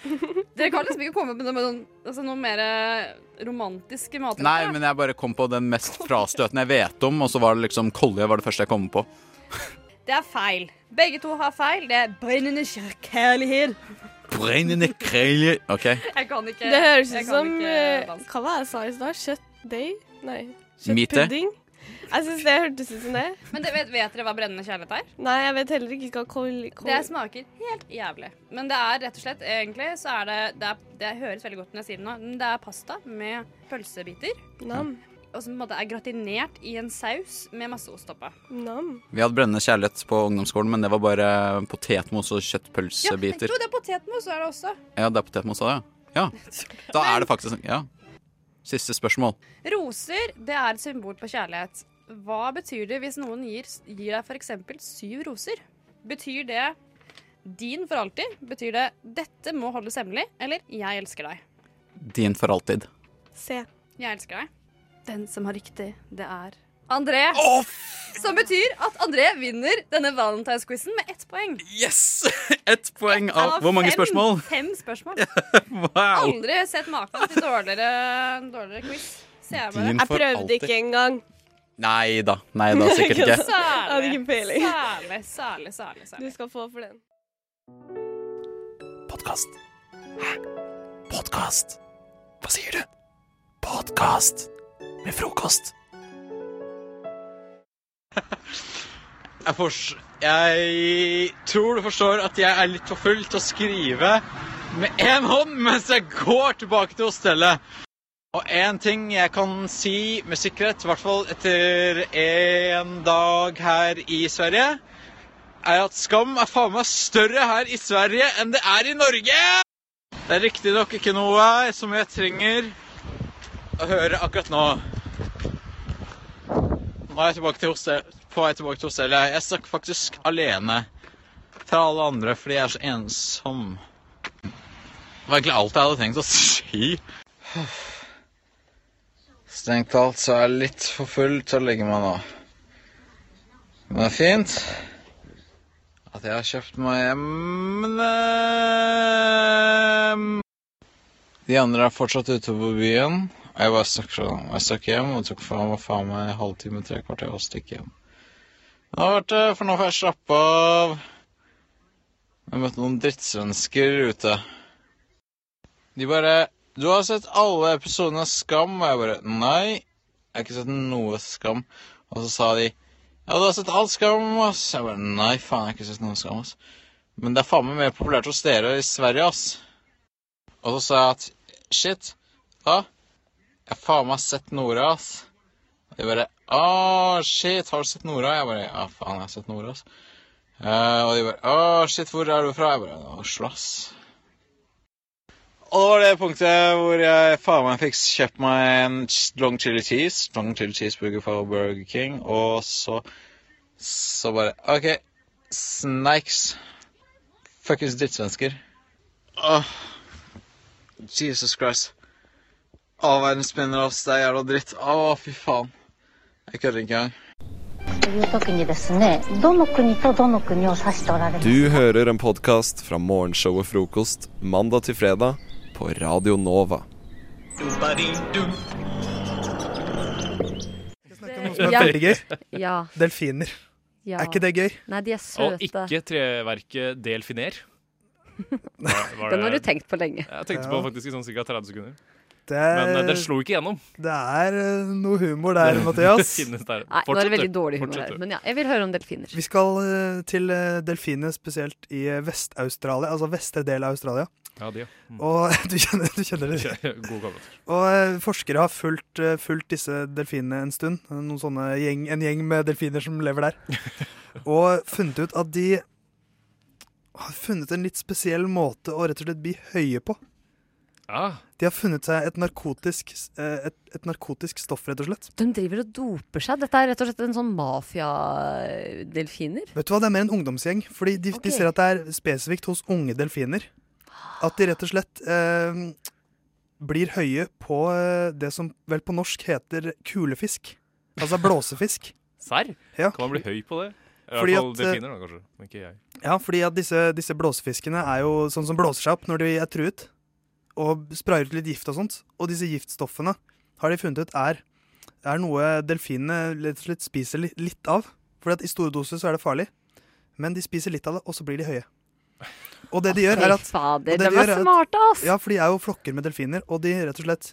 Speaker 9: Dere kan liksom ikke komme med noe, med noen, altså noe mer eh, romantiske matretter.
Speaker 10: Nei,
Speaker 9: da.
Speaker 10: men jeg bare kom på den mest frastøtende jeg vet om, og så var det liksom kolje var det første jeg kom på.
Speaker 9: Det er feil. Begge to har feil. Det er brennende kjærlighet.
Speaker 10: Brennende krølje. OK.
Speaker 9: Jeg kan ikke
Speaker 11: Det høres
Speaker 9: jeg
Speaker 11: ut
Speaker 9: kan
Speaker 11: som
Speaker 9: ikke
Speaker 11: eh,
Speaker 9: dansk.
Speaker 11: Hva var det jeg sa i stad? Kjøttdeig? Nei.
Speaker 10: Mite?
Speaker 11: Kjøttpudding? Jeg syns det hørtes ut som det.
Speaker 9: Men det, vet, vet dere hva brennende kjærlighet er?
Speaker 11: Nei, jeg vet heller ikke hva kol... kol
Speaker 9: Det smaker helt jævlig. Men det er rett og slett egentlig så er det Det, er, det høres veldig godt når jeg sier det nå, men det er pasta med pølsebiter.
Speaker 11: Nam.
Speaker 9: Og som på en måte er gratinert i en saus med masse ost oppå.
Speaker 11: Nam.
Speaker 10: Vi hadde brennende kjærlighet på ungdomsskolen, men det var bare potetmos og kjøttpølsebiter.
Speaker 9: Jo, det er potetmos, så er det også.
Speaker 10: Ja, det er potetmos òg, ja. ja. Da er det faktisk Ja. Siste spørsmål.
Speaker 9: Roser, det er et symbol på kjærlighet. Hva betyr det hvis noen gir, gir deg f.eks. syv roser? Betyr det din for alltid? Betyr det 'dette må holdes hemmelig'? Eller 'jeg elsker deg'?
Speaker 10: Din for
Speaker 12: *laughs*
Speaker 10: alltid.
Speaker 11: Se.
Speaker 9: Jeg elsker deg. Den som har riktig, det er André. som betyr at André vinner denne valentinsquizen med ett poeng.
Speaker 10: Yes! Ett poeng
Speaker 9: Av
Speaker 10: av Hvor mange
Speaker 9: fem-
Speaker 10: spørsmål?
Speaker 9: Fem spørsmål.
Speaker 12: *laughs*
Speaker 10: Wow!
Speaker 9: Aldri sett maken til dårligere, dårligere quiz. Ser jeg bare.
Speaker 10: Din
Speaker 11: Jeg
Speaker 10: for
Speaker 11: prøvde
Speaker 10: alltid.
Speaker 11: ikke engang.
Speaker 10: Nei da. Nei da,
Speaker 9: *laughs*
Speaker 10: sikkert ikke.
Speaker 11: Jeg hadde
Speaker 9: Særlig,
Speaker 11: ikke peiling.
Speaker 9: særlig, særlig, særlig.
Speaker 11: Du
Speaker 9: særlig.
Speaker 11: skal få for den.
Speaker 2: Podkast. Hæ? Podkast? Hva sier du? Podkast med frokost.
Speaker 12: Jeg, fors- jeg tror du forstår at jeg er litt for full til å skrive med én hånd mens jeg går tilbake til hostellet. Og én ting jeg kan si med sikkerhet, i hvert fall etter en dag her i Sverige, er at Skam er faen meg større her i Sverige enn det er i Norge! Det er riktignok ikke noe som jeg trenger å høre akkurat nå. Nå er jeg tilbake til hostel, på vei tilbake til hostellet. Jeg stakk faktisk alene fra alle andre fordi jeg er så ensom. Det var egentlig alt jeg hadde tenkt å si. Strengt talt så er jeg litt for full til å legge meg nå. Men det er fint at jeg har kjøpt meg hjem. M&M. De andre er fortsatt ute på byen. Og jeg bare stakk, fra, jeg stakk hjem og tok faen meg faen meg en halvtime, tre kvarter og stikke hjem. Det har vært det, for nå får jeg slappe av. Jeg møtte noen drittsvensker ute. De bare 'Du har sett alle episodene av Skam?' Og jeg bare 'Nei, jeg har ikke sett noe Skam'. Og så sa de 'Ja, du har sett alt Skam', ass. Jeg bare 'Nei, faen, jeg har ikke sett noe Skam', ass. Men det er faen meg mer populært hos dere i Sverige, ass. Og så sa jeg at shit, da Jeg har faen meg sett Nora, ass. Og de bare Å, shit, har du sett Nora? Jeg bare Ja, faen, jeg har sett Nora, ass. Eh, og de bare Å, shit, hvor er du fra? Jeg bare Oslo, ass. Og det var det punktet hvor jeg faen meg fikk kjøpt meg en ch- long chili cheese, long chili cheeseburger fra Burger King, og så Så bare OK, snakes. Fuckings drittsvensker. Åh. Jesus Christ. Å, verden spinner oss. Det er jævla dritt. Å, fy faen. Jeg kødder ikke engang.
Speaker 1: という時にですねどの国とどの国を指しておられます
Speaker 2: Du hører en podkast fra morgenshowet Frokost mandag til fredag på Radio Nova.
Speaker 13: som er
Speaker 14: Ja.
Speaker 13: veldig gøy.
Speaker 14: Ja.
Speaker 13: Delfiner.
Speaker 14: Ja.
Speaker 13: Er ikke det gøy?
Speaker 14: Nei, de er
Speaker 15: Og
Speaker 14: søte.
Speaker 15: ikke treverket delfiner. Var- var
Speaker 14: Den har du
Speaker 15: det-
Speaker 14: tenkt på lenge.
Speaker 15: Jeg tenkte på
Speaker 13: Ja.
Speaker 15: faktisk i sånn ca. 30 sekunder.
Speaker 13: Det er-
Speaker 15: Men eh, dere slo ikke gjennom.
Speaker 13: Det er eh, noe humor der, Mathias.
Speaker 15: Det finnes der.
Speaker 14: Nei, nå er det
Speaker 15: Fortsett,
Speaker 14: veldig
Speaker 15: du.
Speaker 14: dårlig humor her.
Speaker 15: Fortsett, du.
Speaker 14: Men ja, jeg vil høre om delfiner.
Speaker 13: Vi skal eh, til eh, delfiner, spesielt i eh, Vest-Australia, altså vestre del av Australia.
Speaker 15: Ja, de, ja. Mm.
Speaker 13: Og *laughs* du kjenner, du kjenner det?
Speaker 15: *laughs* God gammel.
Speaker 13: Og eh, forskere har fulgt, eh, fulgt disse delfinene en stund. Noen sånne gjeng, en gjeng med delfiner som
Speaker 15: *laughs*
Speaker 13: lever der. Og funnet ut at de har funnet en litt spesiell måte å rett og slett bli høye på.
Speaker 15: Ah.
Speaker 13: De har funnet seg et narkotisk, s- eh, et, et narkotisk stoff, rett og slett.
Speaker 14: De driver og doper seg. Dette er rett og slett en sånn mafiadelfiner.
Speaker 13: Vet du hva, Det er mer en ungdomsgjeng. Fordi de,
Speaker 14: Ok.
Speaker 13: de ser at det er spesifikt hos unge delfiner. At de rett og slett eh, blir høye på eh, det som vel på norsk heter kulefisk. Altså blåsefisk.
Speaker 15: Serr?
Speaker 13: Ja.
Speaker 15: Kan man bli høy på det? I hvert
Speaker 13: Fordi
Speaker 15: fall
Speaker 13: at, eh,
Speaker 15: delfiner, da, kanskje. Men ikke jeg.
Speaker 13: Ja, fordi at disse, disse blåsefiskene er jo sånn som blåser seg opp når de er truet. Og sprayer ut litt gift og sånt. Og disse giftstoffene har de funnet ut er, er noe delfinene rett og slett spiser li- litt av. Fordi at i store doser så er det farlig. Men de spiser litt av det, og så blir de høye. Og det de
Speaker 14: Å,
Speaker 13: gjør,
Speaker 14: fy
Speaker 13: er at
Speaker 14: fader,
Speaker 13: og det
Speaker 14: de var
Speaker 13: gjør er at-
Speaker 14: smarte, ass!
Speaker 13: Ja, for de er jo flokker med delfiner, og de rett og slett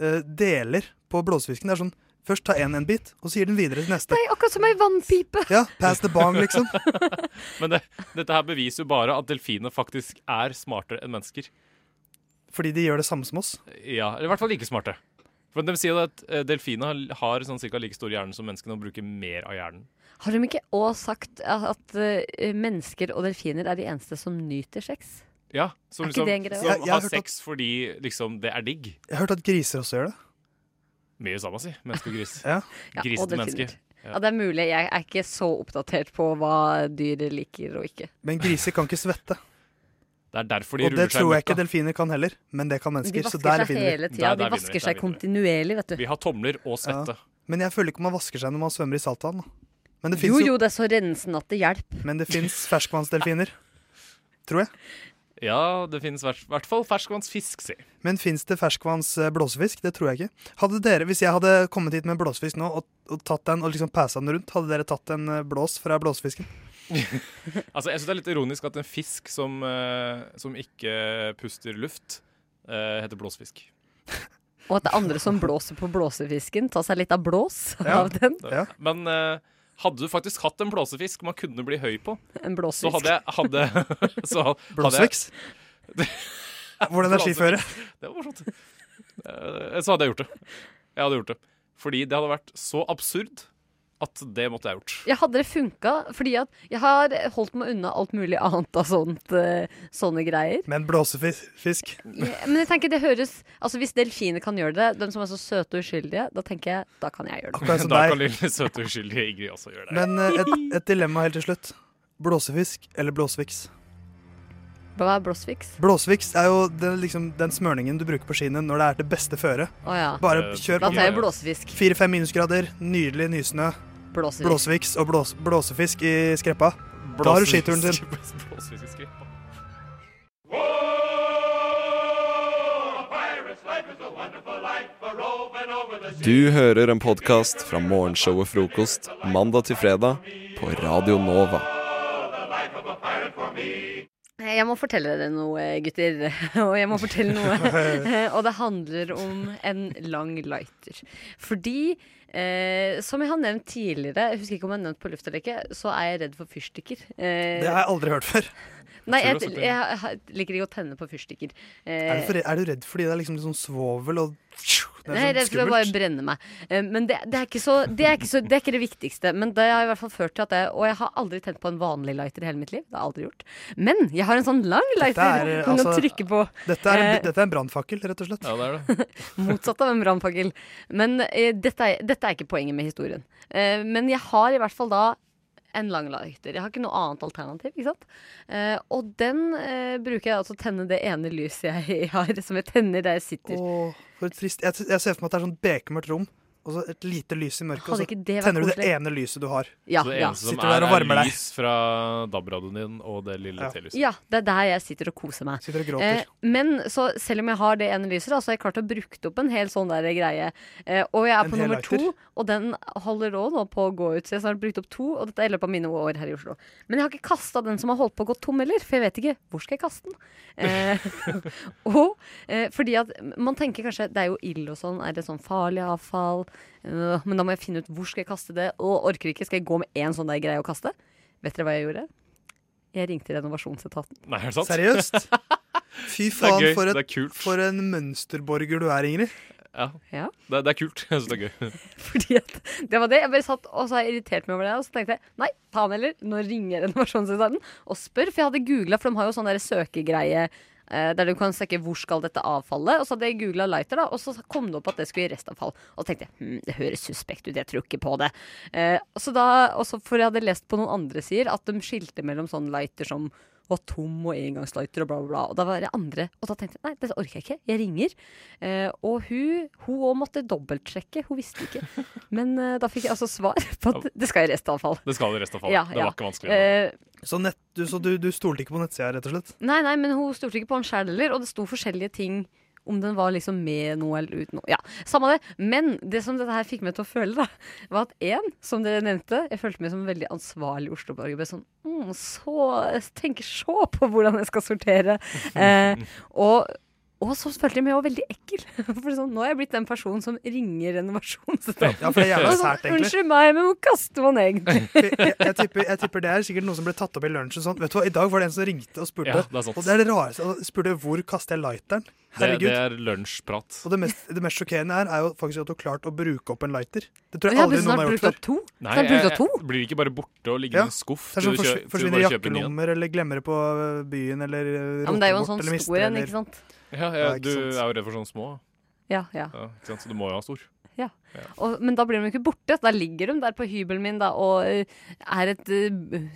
Speaker 13: eh, deler på blåsefisken. Det er sånn Først tar én en bit, og så gir den videre til neste.
Speaker 14: Nei, akkurat som ei vannpipe.
Speaker 13: Ja, pass the bong, liksom.
Speaker 15: Men det, dette her beviser jo bare at delfiner faktisk er smartere enn mennesker.
Speaker 13: Fordi de gjør det samme som oss.
Speaker 15: Ja, eller i hvert fall like smarte. For De sier jo at eh, delfiner har- har sånn cirka like stor hjerne som menneskene og bruker mer av hjernen.
Speaker 14: Har de ikke òg sagt at, at eh, mennesker og delfiner er de eneste som nyter sex?
Speaker 15: Ja, Som,
Speaker 14: Er ikke
Speaker 15: liksom,
Speaker 14: det en greie?
Speaker 15: som
Speaker 14: Jeg- jeg har
Speaker 15: har
Speaker 14: hørt
Speaker 15: sex fordi liksom, det er digg.
Speaker 13: Jeg har hørt at griser også gjør det.
Speaker 15: Mye samme, si. Menneske og gris.
Speaker 13: *laughs* ja.
Speaker 15: Gris
Speaker 14: og
Speaker 15: til
Speaker 14: delfiner.
Speaker 15: menneske.
Speaker 14: Ja. det er mulig. Jeg er ikke så oppdatert på hva dyr liker og ikke.
Speaker 15: *laughs*
Speaker 13: Men griser kan ikke svette.
Speaker 15: Det er derfor de
Speaker 13: og det
Speaker 15: ruller seg
Speaker 13: tror
Speaker 15: i
Speaker 13: jeg ikke
Speaker 15: møkka.
Speaker 13: delfiner kan heller, men det kan mennesker.
Speaker 14: De
Speaker 13: så
Speaker 14: vasker
Speaker 13: der
Speaker 14: seg hele
Speaker 13: vinner vi.
Speaker 14: tida. De vasker seg kontinuerlig, vet du.
Speaker 15: Vi har tomler og svette.
Speaker 13: Men jeg føler ikke man vasker seg når man svømmer i saltvann. da. Men det
Speaker 14: Jo
Speaker 13: fins
Speaker 14: jo, det er så rensende at det hjelper.
Speaker 13: Men det fins ferskvannsdelfiner. Tror jeg.
Speaker 15: Ja, det finnes i hvert- hvert fall ferskvannsfisk, si.
Speaker 13: Men fins det ferskvanns eh, blåsefisk? Det tror jeg ikke. Hadde dere, Hvis jeg hadde kommet hit med en blåsefisk nå og, og tatt den og liksom passa den rundt, hadde dere tatt en eh, blås fra blåsefisken?
Speaker 15: Altså, jeg synes det er litt ironisk at en fisk som, eh, som ikke puster luft, eh, heter blåsfisk.
Speaker 14: Og at det er andre som blåser på blåsefisken, tar seg litt av blås av den.
Speaker 15: Men eh, hadde du faktisk hatt en blåsefisk man kunne bli høy på,
Speaker 14: En blåsfisk.
Speaker 15: så hadde jeg hadde, så hadde *laughs* jeg-
Speaker 13: Blåsveks? Hvordan er skiføre?
Speaker 15: Blåsefisken. Det var morsomt. Eh, Så hadde jeg gjort det. Jeg hadde gjort det. Fordi det hadde vært så absurd at det måtte jeg gjort.
Speaker 14: Jeg hadde det funka, fordi at jeg har holdt meg unna alt mulig annet av sånt, eh, sånne greier.
Speaker 13: Men blåsefisk?
Speaker 14: Ja, Men jeg tenker det høres Altså Hvis delfiner kan gjøre det, de som er så søte og uskyldige, da tenker jeg da kan jeg gjøre det.
Speaker 15: *laughs*
Speaker 13: *laughs*
Speaker 15: Da kan lille søte uskyldige Ingrid også gjøre det.
Speaker 13: Men eh, et, et dilemma helt til slutt. Blåsefisk eller blåsefiks?
Speaker 14: Hva er blåsfiks?
Speaker 13: Blåsefiks er jo den, liksom, den smørningen du bruker på skiene når det er det beste føre.
Speaker 14: Å ja.
Speaker 13: Bare
Speaker 14: Eh,
Speaker 13: kjør
Speaker 14: da
Speaker 13: på.
Speaker 14: tar jeg blåsefisk.
Speaker 13: Fire-fem minusgrader, nydelig nysnø.
Speaker 14: Blåsefisk.
Speaker 13: Blåsefiks og blås, blåsefisk i skreppa.
Speaker 15: *laughs*
Speaker 13: Da har du skituren sin.
Speaker 15: Blåsefisk i skreppa.
Speaker 2: Du hører en podkast fra morgenshowet Frokost mandag til fredag på Radio Nova.
Speaker 14: Eh, Jeg må fortelle dere noe, eh, gutter. *laughs* Og jeg må fortelle
Speaker 13: *laughs*
Speaker 14: noe. Eh, Og det handler om en lang lighter. Fordi, eh, som jeg har nevnt tidligere, jeg husker ikke om jeg har nevnt på luft eller ikke, så er jeg redd for fyrstikker. Eh,
Speaker 13: Det har jeg aldri hørt før.
Speaker 14: Nei,
Speaker 13: Tror
Speaker 14: jeg,
Speaker 13: du også
Speaker 14: jeg,
Speaker 13: det?
Speaker 14: har- liker ikke å tenne på fyrstikker. Eh,
Speaker 13: Er du, for, er du redd fordi det er liksom litt sånn svovel og Det
Speaker 14: Nei,
Speaker 13: er
Speaker 14: det
Speaker 13: sånn
Speaker 14: skulle bare
Speaker 13: skummelt.
Speaker 14: brenne meg. Eh, Men det, det, er ikke så, det, er ikke så, det er ikke det viktigste. Men det har i hvert fall ført til at jeg Og jeg har aldri tent på en vanlig lighter i hele mitt liv. Det har jeg aldri gjort. Men jeg har en sånn lang
Speaker 13: Dette er,
Speaker 14: lighter som du
Speaker 13: altså,
Speaker 14: kan trykke på.
Speaker 13: Dette er,
Speaker 14: Eh,
Speaker 13: en- dette er en brannfakkel, rett og slett.
Speaker 15: Ja, det er det.
Speaker 14: Motsatt av en brannfakkel. Men eh, dette, er, dette er ikke poenget med historien. Eh, men jeg har i hvert fall da en lang lighter. Jeg har ikke noe annet alternativ. ikke sant? Eh, og den eh, bruker jeg altså å tenne det ene lyset jeg *laughs* har, som jeg tenner der jeg sitter.
Speaker 13: Åh, for trist. Jeg, jeg ser for meg at det er sånn bekmørkt rom, og så et lite lys i mørket, og
Speaker 14: Hadde
Speaker 13: så
Speaker 14: ikke det vært
Speaker 13: tenner du det
Speaker 14: koselig?
Speaker 13: ene lyset du har.
Speaker 14: Ja,
Speaker 15: så e- det
Speaker 14: ja.
Speaker 15: eneste som
Speaker 13: Sitter
Speaker 15: er,
Speaker 13: der og varmer
Speaker 15: er
Speaker 13: deg.
Speaker 15: lys fra DAB-radioen din og det lille telyset.
Speaker 14: Ja, det er der jeg sitter og koser meg.
Speaker 13: liksom.
Speaker 14: Eh,
Speaker 13: Sitter og
Speaker 15: gråter.
Speaker 14: men så selv om jeg har det ene lyset, da, så har jeg klart å bruke opp en hel sånn der greie. Eh, og jeg er
Speaker 13: En
Speaker 14: på
Speaker 13: hel
Speaker 14: nummer
Speaker 13: lighter?
Speaker 14: to, og den holder òg nå på å gå ut. Så jeg har snart brukt opp to, og dette er i løpet av mine år her i Oslo. Men jeg har ikke kasta den som har holdt på å gå tom heller, for jeg vet ikke hvor skal jeg kaste den. Eh, *laughs* og eh, fordi at man tenker kanskje det er jo ild og sånn, er det sånn farlig avfall? Øh, men da må jeg finne ut hvor skal jeg kaste det, og orker ikke, skal jeg gå med én sånn der greie å kaste? Vet dere hva jeg gjorde? Jeg ringte renovasjonsetaten. *laughs*
Speaker 15: Nei, er det sant? *laughs*
Speaker 13: Seriøst? Fy
Speaker 15: Det er
Speaker 13: faen,
Speaker 15: gøy,
Speaker 13: for,
Speaker 15: det er
Speaker 13: et, for en mønsterborger du er, Ingrid.
Speaker 15: Ja.
Speaker 14: Ja.
Speaker 15: Det, det er kult. *laughs* Jeg synes det er gøy.
Speaker 14: Det var det. Jeg bare satt og så har jeg irritert meg over det. Og så tenkte jeg nei, ta han heller. Nå ringer renovasjonssentralen og spør. For jeg hadde googla, for de har jo sånn der søkegreie eh, der du kan søke 'hvor skal dette avfallet'? Og så hadde jeg googla lighter, da, og så kom det opp at det skulle i restavfall. Og så tenkte jeg hm, det høres suspekt ut, jeg tror ikke på det. Eh, og så da, og så for jeg hadde lest på noen andre sider at de skilte mellom sånne lighter som var tom og engangslighter og bla, bla, bla. Og da var det andre. Og da tenkte jeg nei, dette orker jeg ikke. Jeg ringer. Eh, og hun hun også måtte dobbeltsjekke. Hun visste
Speaker 15: *laughs*
Speaker 14: ikke. Men eh, da fikk jeg altså svar på at det skal i restavfall.
Speaker 15: Det skal i restavfall.
Speaker 14: Ja,
Speaker 15: det
Speaker 14: ja.
Speaker 15: var ikke vanskelig.
Speaker 14: Eh,
Speaker 13: Så, nett, du, så du, du stolte ikke på nettsida, rett og slett?
Speaker 14: Nei, nei, men hun stolte ikke på han sjæl heller, og det sto forskjellige ting. Om den var liksom med noe eller uten noe. Ja, Samme det. Men det som dette her fikk meg til å føle, da, var at én, som dere nevnte, jeg følte meg som en veldig ansvarlig Oslo-borger. Ble sånn mm, Så tenker så på hvordan jeg skal
Speaker 13: *laughs*
Speaker 14: sortere. Eh, og, og så følte jeg meg også veldig ekkel. *laughs* For sånn, nå er jeg blitt den personen som ringer renovasjonsstaten.
Speaker 13: Ja, for det er jævla
Speaker 14: Og sånn,
Speaker 13: sært, egentlig.
Speaker 14: Unnskyld meg, men hvor kaster man egentlig?
Speaker 13: *laughs* jeg, jeg, tipper, jeg tipper det er sikkert noe som ble tatt opp i lunsjen. Sånn. Vet du hva, I dag var det en som ringte og spurte.
Speaker 15: Ja, det er sant.
Speaker 13: og det er det rareste. Han spurte hvor kaster jeg lighteren.
Speaker 15: Det,
Speaker 13: Herregud.
Speaker 15: det er lunsjprat.
Speaker 13: Og det mest, det mest sjokkerende her er jo faktisk at du har klart å bruke opp en lighter. Det tror
Speaker 14: Jeg
Speaker 13: jeg
Speaker 14: har
Speaker 13: aldri
Speaker 14: snart
Speaker 13: noen har gjort
Speaker 14: brukt
Speaker 13: før.
Speaker 14: opp to.
Speaker 15: Nei, jeg- jeg Blir ikke bare borte og ligger i
Speaker 13: Ja.
Speaker 15: en skuff
Speaker 13: Det er
Speaker 15: til
Speaker 13: sånn
Speaker 15: du kjø-
Speaker 13: forsvin-
Speaker 15: til du
Speaker 13: forsvinner i
Speaker 15: bare kjøper en ny en?
Speaker 13: jakkelommer eller glemmer det på øh, byen eller øh,
Speaker 14: Ja, men det er jo en
Speaker 13: roter bort
Speaker 14: sånn
Speaker 13: eller mister
Speaker 14: stor en,
Speaker 13: eller-
Speaker 14: ikke sant?
Speaker 15: Ja, ja,
Speaker 13: Ja, ikke
Speaker 15: du
Speaker 13: sant.
Speaker 15: er jo redd for sånne små.
Speaker 14: Ja, ja.
Speaker 15: ikke sant? Så du må jo ha stor.
Speaker 14: Ja. Og, men da blir de jo ikke borte. Da ligger de der på hybelen min da, og eh, er et eh,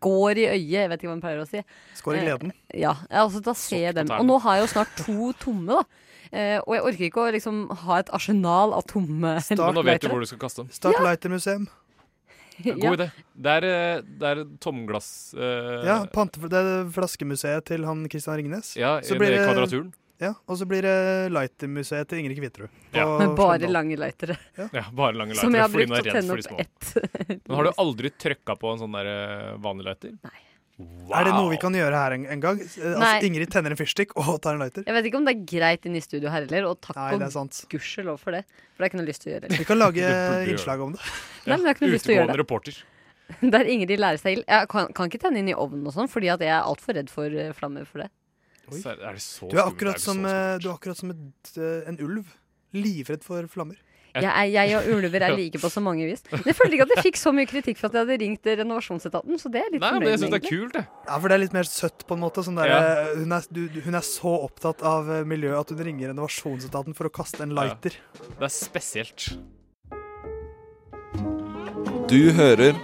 Speaker 14: skår i øyet. Jeg vet ikke hva man pleier å si.
Speaker 13: Skår i
Speaker 14: Eh,
Speaker 13: gleden.
Speaker 14: Ja. ja, altså Da ser jeg dem.
Speaker 13: tærne.
Speaker 14: Og nå har jeg jo snart to tomme, da. Eh, og jeg orker ikke å liksom ha et arsenal av tomme
Speaker 15: Men nå vet du hvor du skal kaste dem.
Speaker 13: Start lightermuseum.
Speaker 15: *laughs* God idé. Det er, eh, det er tomglass... eh,
Speaker 13: Ja, pante, det er flaskemuseet til han Christian Ringnes.
Speaker 15: Ja,
Speaker 13: Så
Speaker 15: i-
Speaker 13: blir
Speaker 15: i
Speaker 13: det-
Speaker 15: Kvadraturen.
Speaker 13: Ja, og så blir det lightermuseet til Ingrid Kviterud.
Speaker 15: Ja.
Speaker 13: på
Speaker 14: Med bare
Speaker 13: Slemdal.
Speaker 14: lange lightere.
Speaker 15: Ja, bare lange
Speaker 14: Som jeg
Speaker 15: lightere
Speaker 14: har
Speaker 15: fordi
Speaker 14: brukt
Speaker 15: hun er
Speaker 14: til å
Speaker 15: redd
Speaker 14: tenne
Speaker 15: for de
Speaker 14: opp
Speaker 15: små.
Speaker 14: ett.
Speaker 15: *laughs* Men har du aldri trøkka på en sånn der eh, vanlig lighter?
Speaker 14: Nei.
Speaker 15: Wow.
Speaker 13: Er det noe vi kan gjøre her en, en gang? Eh,
Speaker 14: Nei.
Speaker 13: Altså, Ingrid tenner en fyrstikk og tar en lighter.
Speaker 14: Jeg vet ikke om det er greit inne i studio her heller, og takk
Speaker 13: Nei, det er
Speaker 14: og gudskjelov for det. For det har jeg ikke noe lyst til å gjøre.
Speaker 13: Vi kan lage innslag om det.
Speaker 14: Nei, men jeg har ikke noe lyst til å gjøre det.
Speaker 15: reporter.
Speaker 14: *laughs* Der Ingrid lærer seg ild. Jeg kan, kan ikke tenne inn i ovnen og sånn, fordi at jeg er altfor redd for eh, flammer for det.
Speaker 15: Så er- er det så
Speaker 13: Du er
Speaker 15: skummelt?
Speaker 13: akkurat
Speaker 15: det
Speaker 13: som,
Speaker 15: så skummelt?
Speaker 13: eh, du er akkurat som et, eh, en ulv. Livredd for flammer.
Speaker 14: Jeg, er, jeg og ulver er like på så mange vis. Men jeg følte ikke at jeg fikk så mye kritikk for at jeg hadde ringt eh, renovasjonsetaten, så det er jeg litt fornøyd med. egentlig.
Speaker 15: kult, det.
Speaker 13: Ja, for det er litt mer søtt, på en måte. Sånn der,
Speaker 15: Ja.
Speaker 13: eh, hun, er, du, du- hun er så opptatt av eh, miljøet at hun ringer renovasjonsetaten for å kaste en lighter.
Speaker 15: Det er spesielt.
Speaker 2: Du hører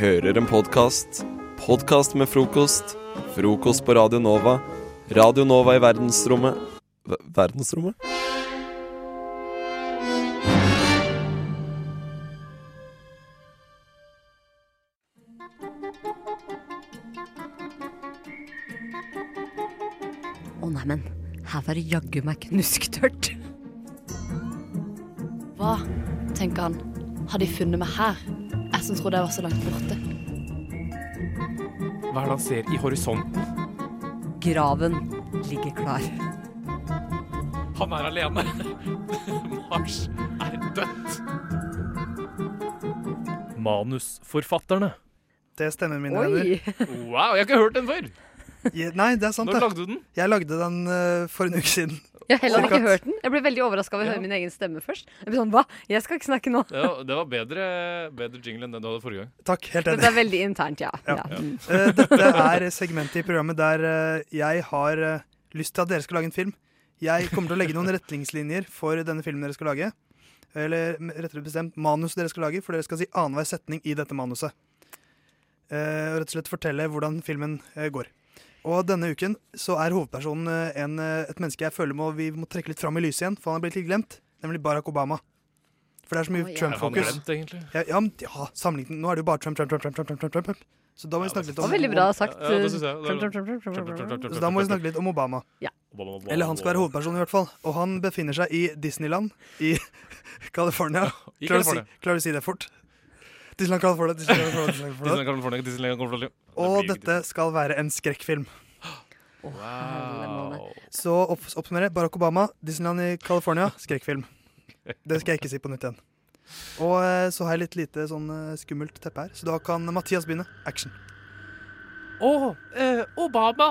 Speaker 2: Hører en podkast. Podkast med frokost. Frokost på Radio Nova. Radio Nova i verdensrommet Ver- Verdensrommet?
Speaker 14: Å nei, men her var det jaggu meg knusktørt.
Speaker 8: Hva, tenker han, har de funnet meg her? Jeg som trodde jeg var så langt borte.
Speaker 15: Hva er det han ser i horisonten?
Speaker 14: Graven ligger klar.
Speaker 15: Han er alene. *laughs* Mars er dødt. Manusforfatterne.
Speaker 13: Det stemmer, mine
Speaker 15: Oi.
Speaker 13: venner.
Speaker 15: Wow, jeg har ikke hørt den før!
Speaker 13: Ja, nei, det er sant.
Speaker 15: Når
Speaker 13: det.
Speaker 15: lagde du den?
Speaker 13: Jeg lagde den eh, for en uke siden.
Speaker 14: Jeg har heller ikke
Speaker 13: Cirka.
Speaker 14: hørt den. Jeg ble veldig overraska over å
Speaker 15: Ja.
Speaker 14: høre min egen stemme først. Jeg ble sånn, hva? Jeg skal ikke snakke nå.
Speaker 15: Det var, det var bedre, bedre jingle enn den du hadde forrige gang.
Speaker 13: Takk, helt enig.
Speaker 14: Dette er veldig internt, ja. ja.
Speaker 15: Mm.
Speaker 13: Eh, dette
Speaker 15: *laughs*
Speaker 13: er segmentet i programmet der eh, jeg har eh, lyst til at dere skal lage en film. Jeg kommer til å legge noen retningslinjer for denne filmen dere skal lage. Eller m- rettere bestemt manus dere skal lage, for dere skal si annenhver setning i dette manuset. Eh, og rett og slett fortelle hvordan filmen eh, går. Og denne uken så er hovedpersonen eh, en, eh, et menneske jeg føler må, vi må trekke litt fram i lyset igjen, for han er blitt litt glemt. Nemlig Barack Obama. For det er så mye
Speaker 15: Å, ja. Er
Speaker 13: Trump-fokus.
Speaker 15: han glemt, egentlig?
Speaker 13: Ja, ja, men ja, sammenlignet. Nå er det jo bare Trump, Trump, Trump, Trump, Trump, Trump, Trump. Så da må vi snakke litt
Speaker 14: Det
Speaker 13: om
Speaker 14: var veldig bra sagt. eh,
Speaker 13: Ja, det synes
Speaker 15: jeg.
Speaker 14: Trump, trump, trump, trump, trump, trump, trump.
Speaker 13: så da må vi snakke litt om Obama. Eller han skal være hovedpersonen, i hvert fall. Og han befinner seg i Disneyland i *laughs* California.
Speaker 15: I
Speaker 13: Klarer du å si,
Speaker 15: California.
Speaker 13: klarer du å si det fort? Disneyland California, Disneyland California, Disneyland
Speaker 15: Disneyland
Speaker 13: California.
Speaker 15: California, Disneyland California.
Speaker 13: Og dette skal være en skrekkfilm.
Speaker 15: Wow.
Speaker 13: Så opp, oppsummere. Barack Obama, Disneyland i California, skrekkfilm. Det skal jeg ikke si på nytt igjen. Og eh, så har jeg litt lite sånn eh, skummelt teppe her, så da kan Mathias begynne. Action.
Speaker 16: Å, eh, Obama!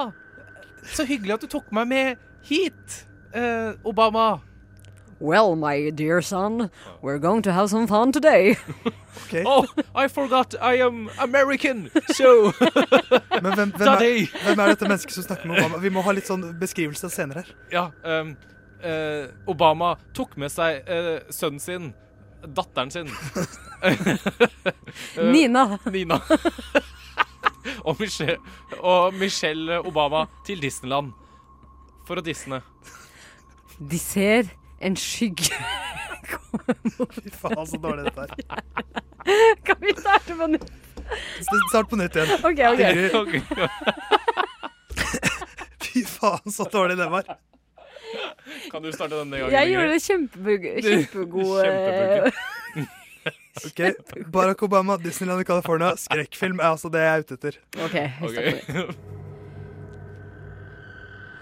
Speaker 17: Så hyggelig at du tok meg med hit, eh, Obama.
Speaker 14: Well, my dear son, we're going to have some fun
Speaker 17: *laughs*
Speaker 14: today.
Speaker 17: Oh, I forgot I am American, so
Speaker 13: *laughs* Men hvem, hvem,
Speaker 17: Daddy.
Speaker 13: er, hvem er dette mennesket som snakker med Obama? Vi må ha litt sånn beskrivelse senere her.
Speaker 15: Ja, ehm, eh, Obama tok med seg eh, sønnen sin, datteren sin. Eh,
Speaker 14: *laughs* Nina.
Speaker 15: Nina. *laughs* og, Michelle, og Michelle Obama til Disneyland for å disne.
Speaker 14: De ser en skygge komme mot
Speaker 13: Fy faen, så dårlig dette er.
Speaker 14: *laughs* Kan vi starte på nytt?
Speaker 13: S- Start på nytt igjen.
Speaker 14: Ok, *laughs* ok.
Speaker 13: *laughs* Fy faen, så dårlig det var.
Speaker 15: Kan du starte denne gangen?
Speaker 14: Jeg gjorde det
Speaker 15: Ingrid?
Speaker 14: kjempebug- *laughs* kjempegod eh,
Speaker 15: Kjempebugge.
Speaker 13: *laughs* Ok, Barack Obama, Disneyland i California. Skrekkfilm er altså det jeg er ute etter.
Speaker 14: Ok, jeg
Speaker 15: stopper.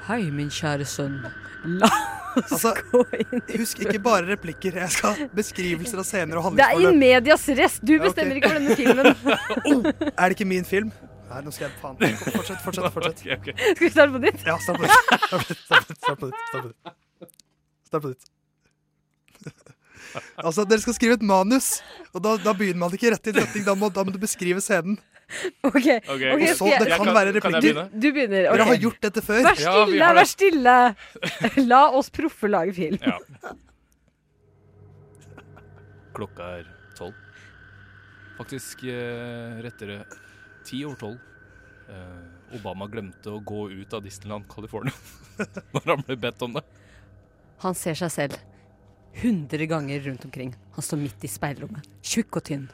Speaker 14: Hei, min kjære sønn. La oss gå inn i
Speaker 13: Altså, Husk ikke bare replikker. Jeg
Speaker 14: *laughs*
Speaker 13: skal ha beskrivelser av scener og
Speaker 14: *laughs* Det er i
Speaker 13: handlingsforløp.
Speaker 14: medias rest. Du
Speaker 13: Ja, ok. Oh,
Speaker 14: bestemmer ikke over denne
Speaker 13: *laughs*
Speaker 14: filmen.
Speaker 13: Er det ikke min film? Nei, nå skal jeg faen. Fortsett, fortsett. fortsett.
Speaker 14: Skal vi starte på nytt?
Speaker 13: Ja, start på nytt. Start på nytt, start på nytt, Start på nytt. Start på nytt. Start på nytt. *laughs* Altså, dere skal skrive et manus, og da, da begynner man ikke rett i retning. Da må, da må du beskrive scenen.
Speaker 14: Ok.
Speaker 13: Og
Speaker 14: skal
Speaker 13: så,
Speaker 14: jeg-
Speaker 13: det kan, være replikker.
Speaker 14: Du, du begynner. ok.
Speaker 13: Dere har gjort dette før.
Speaker 14: Vær stille, vær stille. *laughs* La oss proffe lage film.
Speaker 15: Ja.
Speaker 14: *laughs*
Speaker 15: Klokka er tolv. Faktisk eh, rettere ti over tolv. Eh, Obama glemte å gå ut av Disneyland California *laughs* når han ble bedt om det.
Speaker 14: Han ser seg selv 100 ganger rundt omkring. Han står midt i speilrommet. Tjukk og tynn.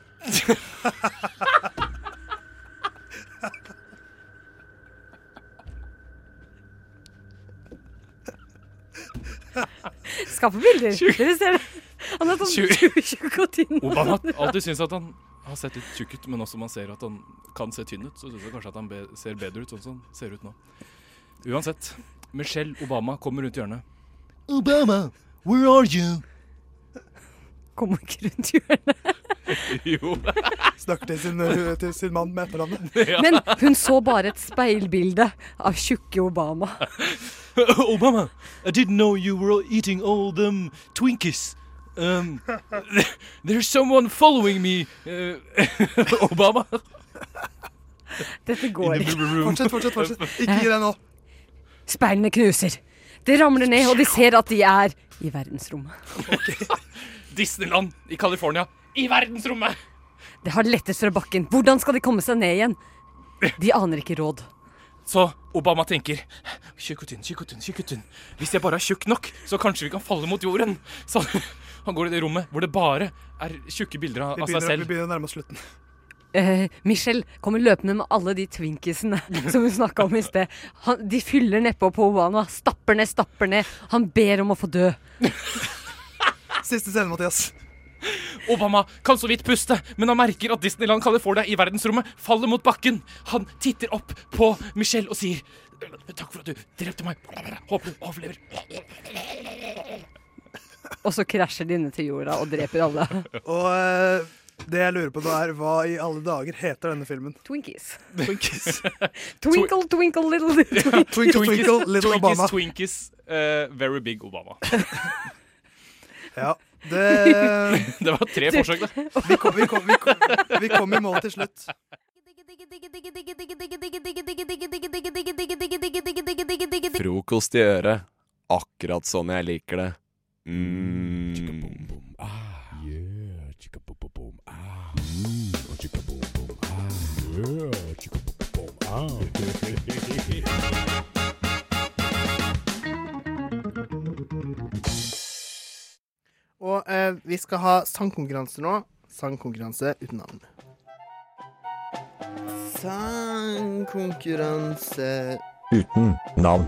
Speaker 14: Skaff bilder. Dere ser det. Han er sånn tjukk tjukk og tynn.
Speaker 15: Obama har alltid syntes at han har sett litt tjukk ut, men også man ser at han kan se tynn ut, så syns jeg kanskje at han be ser bedre ut sånn som han ser ut nå. Uansett, Michelle Obama kommer rundt hjørnet.
Speaker 6: Obama, where are you?
Speaker 14: Kommer ikke rundt hjørnet.
Speaker 15: jo.
Speaker 13: Snakker til sin, til sin mann med etternavnet.
Speaker 14: *laughs* Men hun så bare et speilbilde av tjukke Obama.
Speaker 6: *laughs* Obama, I didn't know you were eating all them Twinkies. Um, *laughs* there's someone following me, uh, *laughs* Obama.
Speaker 14: Dette går
Speaker 6: In the blue room.
Speaker 13: Fortsett, fortsett,
Speaker 6: *laughs*
Speaker 13: fortsett. Ikke gi deg nå.
Speaker 14: Speilene knuser. Det ramler ned, og de ser at de er i
Speaker 15: *laughs*
Speaker 14: verdensrommet.
Speaker 15: Disneyland i California. I verdensrommet!
Speaker 14: Det har lettet fra bakken. Hvordan skal de komme seg ned igjen? De aner ikke råd.
Speaker 15: Så Obama tenker Tjukk og tynn, tjukk og tynn, tjukk og tynn. Hvis jeg bare er tjukk nok, så kanskje vi kan falle mot jorden. Så *laughs* han går i det rommet hvor det bare er tjukke bilder av
Speaker 13: Vi
Speaker 15: av
Speaker 13: begynner,
Speaker 15: seg
Speaker 13: vi
Speaker 15: selv.
Speaker 13: begynner å nærme oss slutten. *laughs*
Speaker 14: Eh, Michelle kommer løpende med alle de twinkisene *laughs* som hun snakka om i sted. Han, de fyller nedpå på Obama. Stapper ned, stapper ned. Han ber om å få dø.
Speaker 13: Siste scene, Mathias.
Speaker 15: Obama kan så vidt puste, men han merker at Disneyland California i verdensrommet faller mot bakken. Han titter opp på Michelle og sier Takk for at du drepte meg. Håper du overlever.
Speaker 14: Og så krasjer de ned til jorda og dreper alle.
Speaker 13: *laughs* Og eh, det jeg lurer på nå, er hva i alle dager heter denne filmen?
Speaker 14: Twinkies.
Speaker 13: Twinkies.
Speaker 14: Twinkle, twinkle,
Speaker 13: *laughs*
Speaker 14: little twinkle.
Speaker 13: Twinkle, twinkle, little
Speaker 15: Twinkies,
Speaker 13: Obama.
Speaker 15: Twinkies, eh, very big Obama.
Speaker 13: *laughs*
Speaker 15: *laughs*
Speaker 13: Ja, Eh, det
Speaker 15: Det var tre forsøk, da.
Speaker 13: Vi kom, vi kom, vi kom, vi kom i mål til slutt.
Speaker 18: Frokost i øret. Akkurat sånn jeg liker det. Mm.
Speaker 19: Og eh, vi skal ha sangkonkurranse nå. Sangkonkurranse uten navn. Sangkonkurranse
Speaker 4: Uten navn.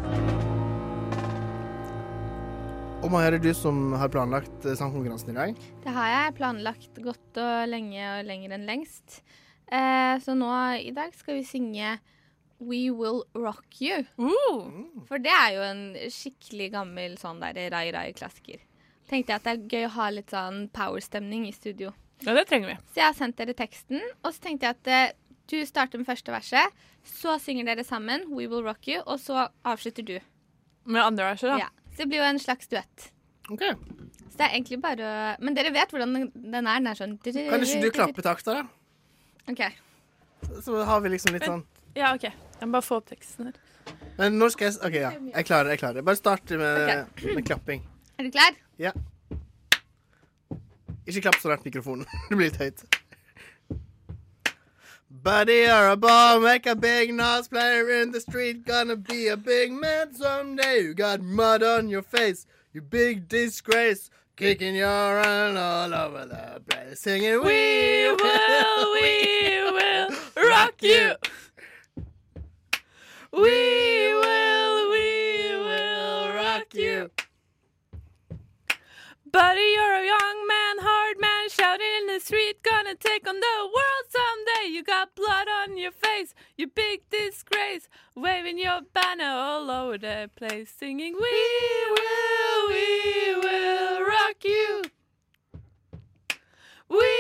Speaker 19: Og Maja, er det du som har planlagt eh, sangkonkurransen i dag?
Speaker 20: Det har jeg planlagt godt og lenge og lenger enn lengst. Eh, så nå i dag skal vi synge We Will Rock You.
Speaker 14: Uh.
Speaker 20: For det er jo en skikkelig gammel sånn der rai-rai-klassiker. Tenkte jeg at det er gøy å ha litt sånn powerstemning i studio.
Speaker 21: Ja, det trenger vi.
Speaker 20: Så jeg har sendt dere teksten, og så tenkte jeg at eh, Du starter med første verset, så synger dere sammen 'We Will Rock You', og så avslutter du.
Speaker 21: Med andre verset, da.
Speaker 20: Ja, så det blir jo en slags duett. Så det er egentlig bare å Men dere vet hvordan den- den er? Den er sånn
Speaker 19: Kan ikke du klappe takt der, da? *laughs*
Speaker 20: OK.
Speaker 19: Så har vi liksom litt sånn
Speaker 21: Ja, OK. Jeg må bare få opp teksten her.
Speaker 19: Men når skal jeg s- OK, ja. Jeg klarer det. jeg klarer det. Bare start med,
Speaker 20: Ok.
Speaker 19: med klapping.
Speaker 20: Er du klar?
Speaker 19: Ja. Ikke klapp så nært mikrofonen. *laughs* Det blir litt høyt. Buddy or a ball, make a big noise, player in the street, gonna be a big man someday. You got mud on your face, you big disgrace, kicking your around all over the place, singing we will, we will rock you.
Speaker 21: We will, we will rock you. Buddy, you're a young man, hard man, shouting in the street, gonna take on the world someday. You got blood on your face, you big disgrace, waving your banner all over the place, singing, We will, we will rock you. We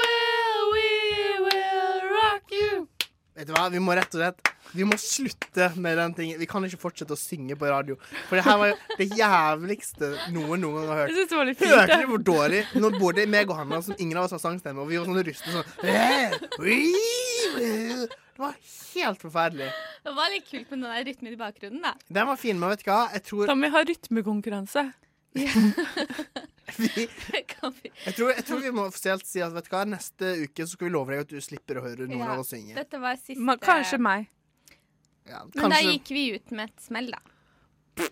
Speaker 21: will, we will rock you.
Speaker 19: Vet du hva, vi må rett og slett Vi må slutte med den tingen. Vi kan ikke fortsette å synge på radio. For det her var jo det jævligste noen noen gang har hørt.
Speaker 21: Jeg synes det var litt fint,
Speaker 19: Hørte
Speaker 21: det.
Speaker 19: du hvor dårlig Når både meg og Hanna, som ingen av oss har sangstemme, og vi var sånn rustet sånn «Eh, ui, eh». Det var helt forferdelig.
Speaker 20: Det var litt kult med den der rytmen i bakgrunnen, da.
Speaker 19: Den var fin, men vet du hva? Jeg tror
Speaker 21: Da må vi ha rytmekonkurranse.
Speaker 19: jeg tror, jeg tror vi må offisielt si at vet du hva, neste uke så skal vi love deg at du slipper å høre noen
Speaker 20: Ja,
Speaker 19: av oss synge.
Speaker 20: Dette var siste
Speaker 21: Ma- Kanskje meg.
Speaker 19: Ja,
Speaker 20: Men da
Speaker 19: kanskje
Speaker 20: gikk vi ut med et smell, da.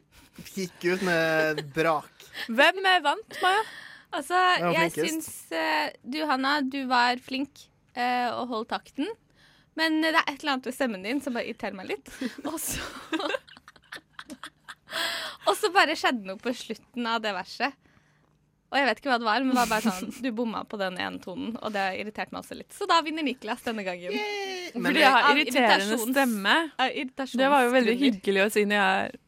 Speaker 19: gikk ut med brak.
Speaker 21: Hvem eh, vant, Maja?
Speaker 20: Altså,
Speaker 19: var
Speaker 20: jeg
Speaker 19: flinkest.
Speaker 20: syns eh, du, Hanna, du var flink eh, og holdt takten. Men eh, det er et eller annet ved stemmen din som bare irriterer meg
Speaker 21: *laughs*
Speaker 20: litt. Og så *laughs* Og så bare skjedde noe på slutten av det verset. Og jeg vet ikke hva det var, men det var bare sånn du bomma på den ene tonen. Og det irriterte meg også litt. Så da vinner Niklas denne gangen.
Speaker 21: Men Fordi jeg har irriterende stemme.
Speaker 20: Av irritasjons-
Speaker 21: Det var jo veldig
Speaker 20: grunner.
Speaker 21: hyggelig å si når jeg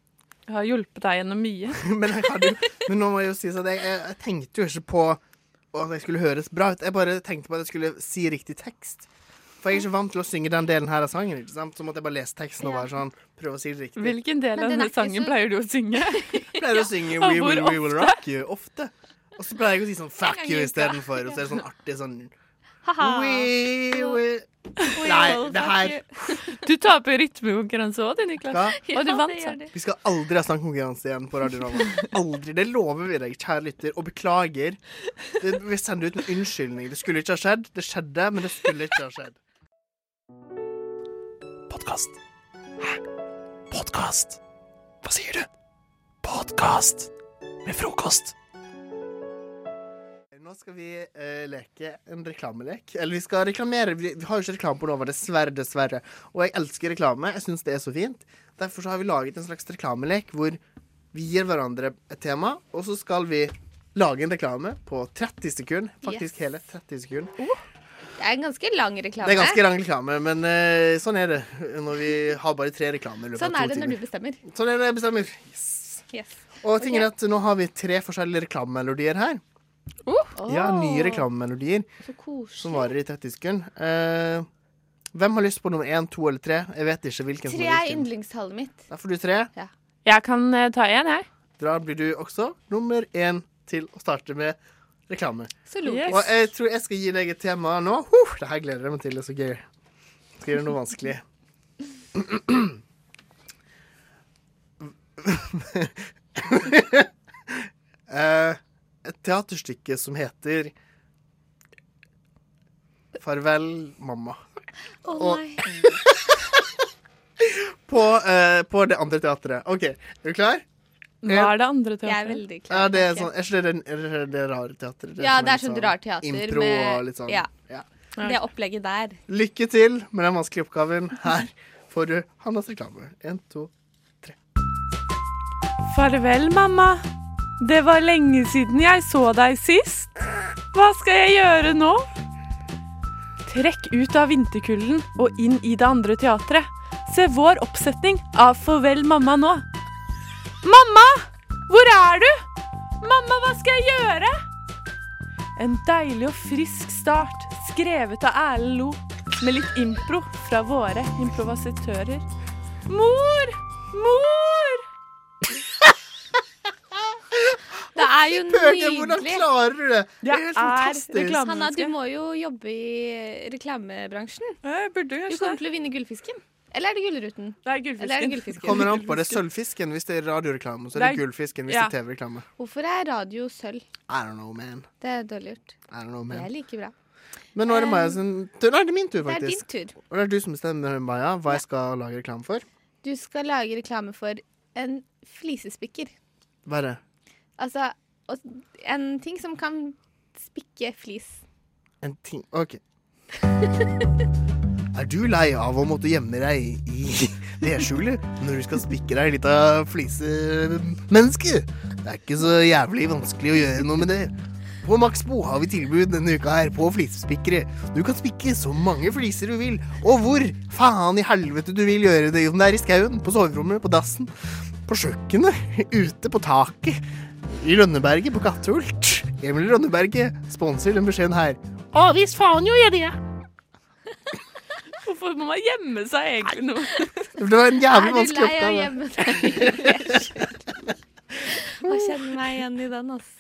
Speaker 21: har hjulpet deg gjennom
Speaker 19: *laughs*
Speaker 21: mye.
Speaker 19: men, jeg hadde, jo- men nå må jeg jo si at jeg, jeg, jeg tenkte jo ikke på at jeg skulle høres bra ut. Jeg bare tenkte på at jeg skulle si riktig tekst. For jeg er ikke vant til å synge den delen her av sangen. ikke sant? Så måtte jeg bare lese teksten og bare sånn, prøve å si det riktig.
Speaker 21: Hvilken del av denne sangen pleier du å *laughs* synge?
Speaker 19: Jeg pleier å synge
Speaker 21: Og
Speaker 19: We
Speaker 21: hvor
Speaker 19: Will, we will
Speaker 21: ofte?
Speaker 19: Rock You ofte. Og så pleier jeg å si sånn
Speaker 21: En
Speaker 19: fuck
Speaker 21: gang i
Speaker 19: you
Speaker 21: uka.
Speaker 19: istedenfor. Og så er det sånn artig sånn
Speaker 21: Haha.
Speaker 19: We will Nei, det her
Speaker 21: Du taper rytmekonkurranse òg, du, Niklas.
Speaker 19: Hva?
Speaker 21: Og du vant, sa
Speaker 19: Vi skal aldri ha sangkonkurranse igjen på Radio Nova. Aldri. Det lover vi deg, kjære lytter, og beklager. Det, vi sender ut en unnskyldning. Det skulle ikke ha skjedd. Det skjedde, men det skulle ikke ha skjedd.
Speaker 2: Podkast. Hæ? Podkast? Hva sier du? Podkast med frokost.
Speaker 19: Nå skal vi eh, leke en reklamelek. Eller vi skal reklamere. Vi, vi har jo ikke reklame på Nova, dessverre. dessverre. Og jeg elsker reklame. Jeg syns det er så fint. Derfor så har vi laget en slags reklamelek hvor vi gir hverandre et tema, og så skal vi lage en reklame på 30 sekunder. Faktisk
Speaker 20: Yes. Oh,
Speaker 19: hele 30 sekunder.
Speaker 20: Det er en ganske lang reklame.
Speaker 19: Det er ganske lang reklame, men eh, sånn er det når vi har bare tre reklamer. i løpet av
Speaker 20: Sånn
Speaker 19: to
Speaker 20: er det når du
Speaker 19: timer.
Speaker 20: bestemmer.
Speaker 19: Sånn er det jeg bestemmer.
Speaker 20: Yes.
Speaker 19: Og tingen er at nå har vi tre forskjellige reklamemelodier her.
Speaker 20: Uh.
Speaker 19: Ja, nye reklamemelodier
Speaker 20: Så koselig.
Speaker 19: som varer i 30 sekunder. Eh, hvem har lyst på nummer én, to eller tre? Jeg vet ikke hvilken som
Speaker 20: Tre
Speaker 19: er
Speaker 20: er
Speaker 19: hvilken.
Speaker 20: yndlingstallet mitt.
Speaker 19: Da får du tre.
Speaker 21: Jeg kan eh, ta én, jeg.
Speaker 19: Da blir du også nummer én til å starte med reklame.
Speaker 20: Så logisk.
Speaker 19: Og jeg tror jeg skal gi deg et tema nå. Huh, det her gleder jeg meg til. Det er så gøy. Jeg Skal gjøre noe vanskelig. *laughs* Eh, et teaterstykke som heter Farvel, mamma.
Speaker 20: Å
Speaker 19: Og-
Speaker 20: *laughs* nei.
Speaker 19: På, eh, på det andre teatret. OK, er du klar?
Speaker 21: Hva er det andre teatret?
Speaker 20: Jeg er veldig klar.
Speaker 19: Ja, det er, sånn, er ikke det den- er det det rare teatret?
Speaker 20: Ja,
Speaker 19: som
Speaker 20: det er sånn
Speaker 19: litt
Speaker 20: rart teater.
Speaker 19: Impro
Speaker 20: med-
Speaker 19: og litt sånn.
Speaker 20: Ja.
Speaker 19: Ja.
Speaker 20: Det opplegget der.
Speaker 19: Lykke til med den vanskelige oppgaven. Her får du Hannas reklame. En, to
Speaker 21: Farvel, mamma. Det var lenge siden jeg så deg sist. Hva skal jeg gjøre nå? Trekk ut av vinterkulden og inn i det andre teatret. Se vår oppsetning av Farvel, mamma nå. Mamma! Hvor er du? Mamma, hva skal jeg gjøre? En deilig og frisk start, skrevet av Erlend Lo. med litt impro fra våre improvisatører. Mor! Mor!
Speaker 20: Det er jo
Speaker 19: Pøker,
Speaker 20: nydelig.
Speaker 19: hvordan klarer du det? Det er helt fantastisk.
Speaker 20: Hanna, du må jo jobbe i reklamebransjen.
Speaker 21: du
Speaker 20: kommer til å vinne Gullfisken. Eller er det Gullruten?
Speaker 21: Det er
Speaker 20: Eller er det
Speaker 19: Det
Speaker 20: gullfisken?
Speaker 19: Kommer an på det. Sølvfisken hvis det er radioreklame, og så er
Speaker 20: Det er-
Speaker 19: det gullfisken hvis
Speaker 20: Ja.
Speaker 19: det er TV-reklame.
Speaker 20: Hvorfor er radio sølv?
Speaker 19: I don't know, man.
Speaker 20: Det er dårlig gjort.
Speaker 19: I don't know,
Speaker 20: Det er
Speaker 19: man.
Speaker 20: like bra.
Speaker 19: Men nå er det Maja sin tur. Nei, det er min tur,
Speaker 20: Eh, Det er
Speaker 19: faktisk.
Speaker 20: din tur.
Speaker 19: Og det er du som bestemmer, Maja, hva jeg skal lage reklame for.
Speaker 20: Du skal lage reklame for en flisespikker.
Speaker 19: Hva er det?
Speaker 20: Altså og- en ting som kan spikke *laughs* flis.
Speaker 19: En ting OK. Er du lei av å måtte gjemme deg i *laughs* vedskjulet når du skal spikke deg litt av flisemenneske? Det er ikke så jævlig vanskelig å gjøre noe med det. På Maxbo har vi tilbud denne uka her på flisespikkere. Du kan spikke så mange fliser du vil, og hvor faen i helvete du vil gjøre det. Om det er i skauen, på soverommet, på dassen, på kjøkkenet, ute på taket, i Lønneberget, på Kattehult. Emil Lønneberget sponser den beskjeden her.
Speaker 21: Å, hvis faen jo gjør det! *laughs* Hvorfor må man gjemme seg egentlig nå?
Speaker 19: Det var en jævlig vanskelig
Speaker 20: Er du lei av å
Speaker 19: oppgave.
Speaker 20: *laughs* gjemme deg i vedskjul? Å, kjenn meg igjen i den, ass.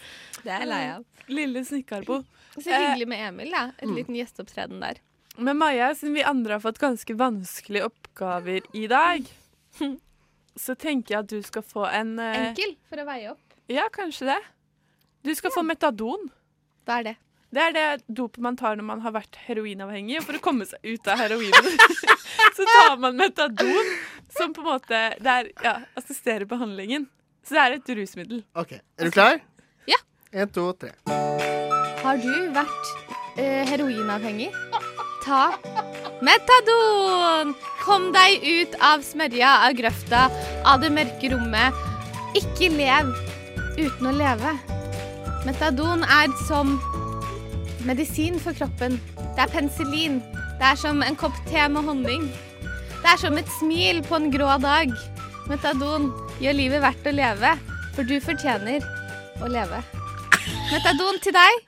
Speaker 20: Det er jeg lei av. mm.
Speaker 21: Lille snikkarbo.
Speaker 20: Eh, Så hyggelig med Emil, da. En liten gjesteopptreden der.
Speaker 21: Eh, Men Maja, siden vi andre har fått ganske vanskelige oppgaver i
Speaker 20: *laughs*
Speaker 21: dag, så tenker jeg at du skal få en eh,
Speaker 20: Enkel for å veie opp.
Speaker 21: Ja, kanskje det. Du skal få metadon.
Speaker 20: Hva er det?
Speaker 21: Det er det dopet man tar når man har vært heroinavhengig. og For å komme seg ut av heroinen *laughs* så tar man metadon, som på en måte det er, ja, assisterer behandlingen. Så det er et rusmiddel.
Speaker 19: Ok, Er du klar?
Speaker 20: Ja.
Speaker 19: En, to, tre.
Speaker 20: Har du vært eh, heroinavhengig? Ta metadon! Kom deg ut av smørja, av grøfta, av det mørke rommet. Ikke lev uten å leve. Metadon er som medisin for kroppen. Det er penicillin. Det er som en kopp te med honning. Det er som et smil på en grå dag. Metadon gjør livet verdt å leve, for du fortjener å leve. Metadon til deg.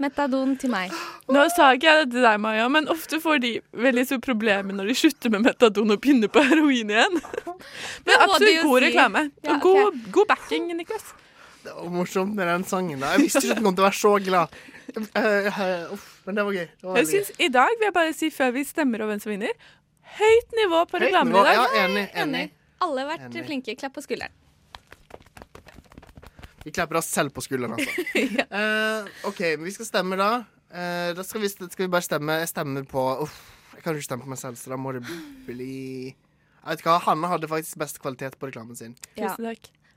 Speaker 20: Metadon til meg.
Speaker 21: Nå sa ikke jeg det til deg, Maja, men ofte får de veldig store problemer når de slutter med metadon og begynner på heroin
Speaker 20: *laughs*
Speaker 21: igjen.
Speaker 20: Det
Speaker 21: Men
Speaker 20: må de
Speaker 21: absolutt
Speaker 20: jo
Speaker 21: god
Speaker 20: si.
Speaker 21: reklame.
Speaker 20: Ja,
Speaker 21: og god, god backing, Niklas.
Speaker 19: Det var morsomt med den sangen. da. Jeg visste ikke at den kom til å være så glad. Eh, eh, uff, men det var gøy. Det var
Speaker 21: Jeg
Speaker 19: veldig
Speaker 21: synes I dag vil jeg bare si før vi stemmer over hvem som vinner, høyt nivå på
Speaker 19: Høyt
Speaker 21: reklamen
Speaker 19: nivå,
Speaker 21: i dag.
Speaker 19: ja, enig, enig.
Speaker 20: Alle har vært
Speaker 19: Enig.
Speaker 20: flinke. Klapp på skulderen.
Speaker 19: gøy. Vi klapper oss selv på skulderen, altså.
Speaker 20: *laughs*
Speaker 19: Eh, OK, men vi skal stemme da. Eh, da skal vi, skal vi bare stemme. Jeg stemmer på Uff, jeg kan jo ikke stemme på meg selv, så da må det bli Jeg vet ikke hva, Hanne hadde faktisk best kvalitet på reklamen sin.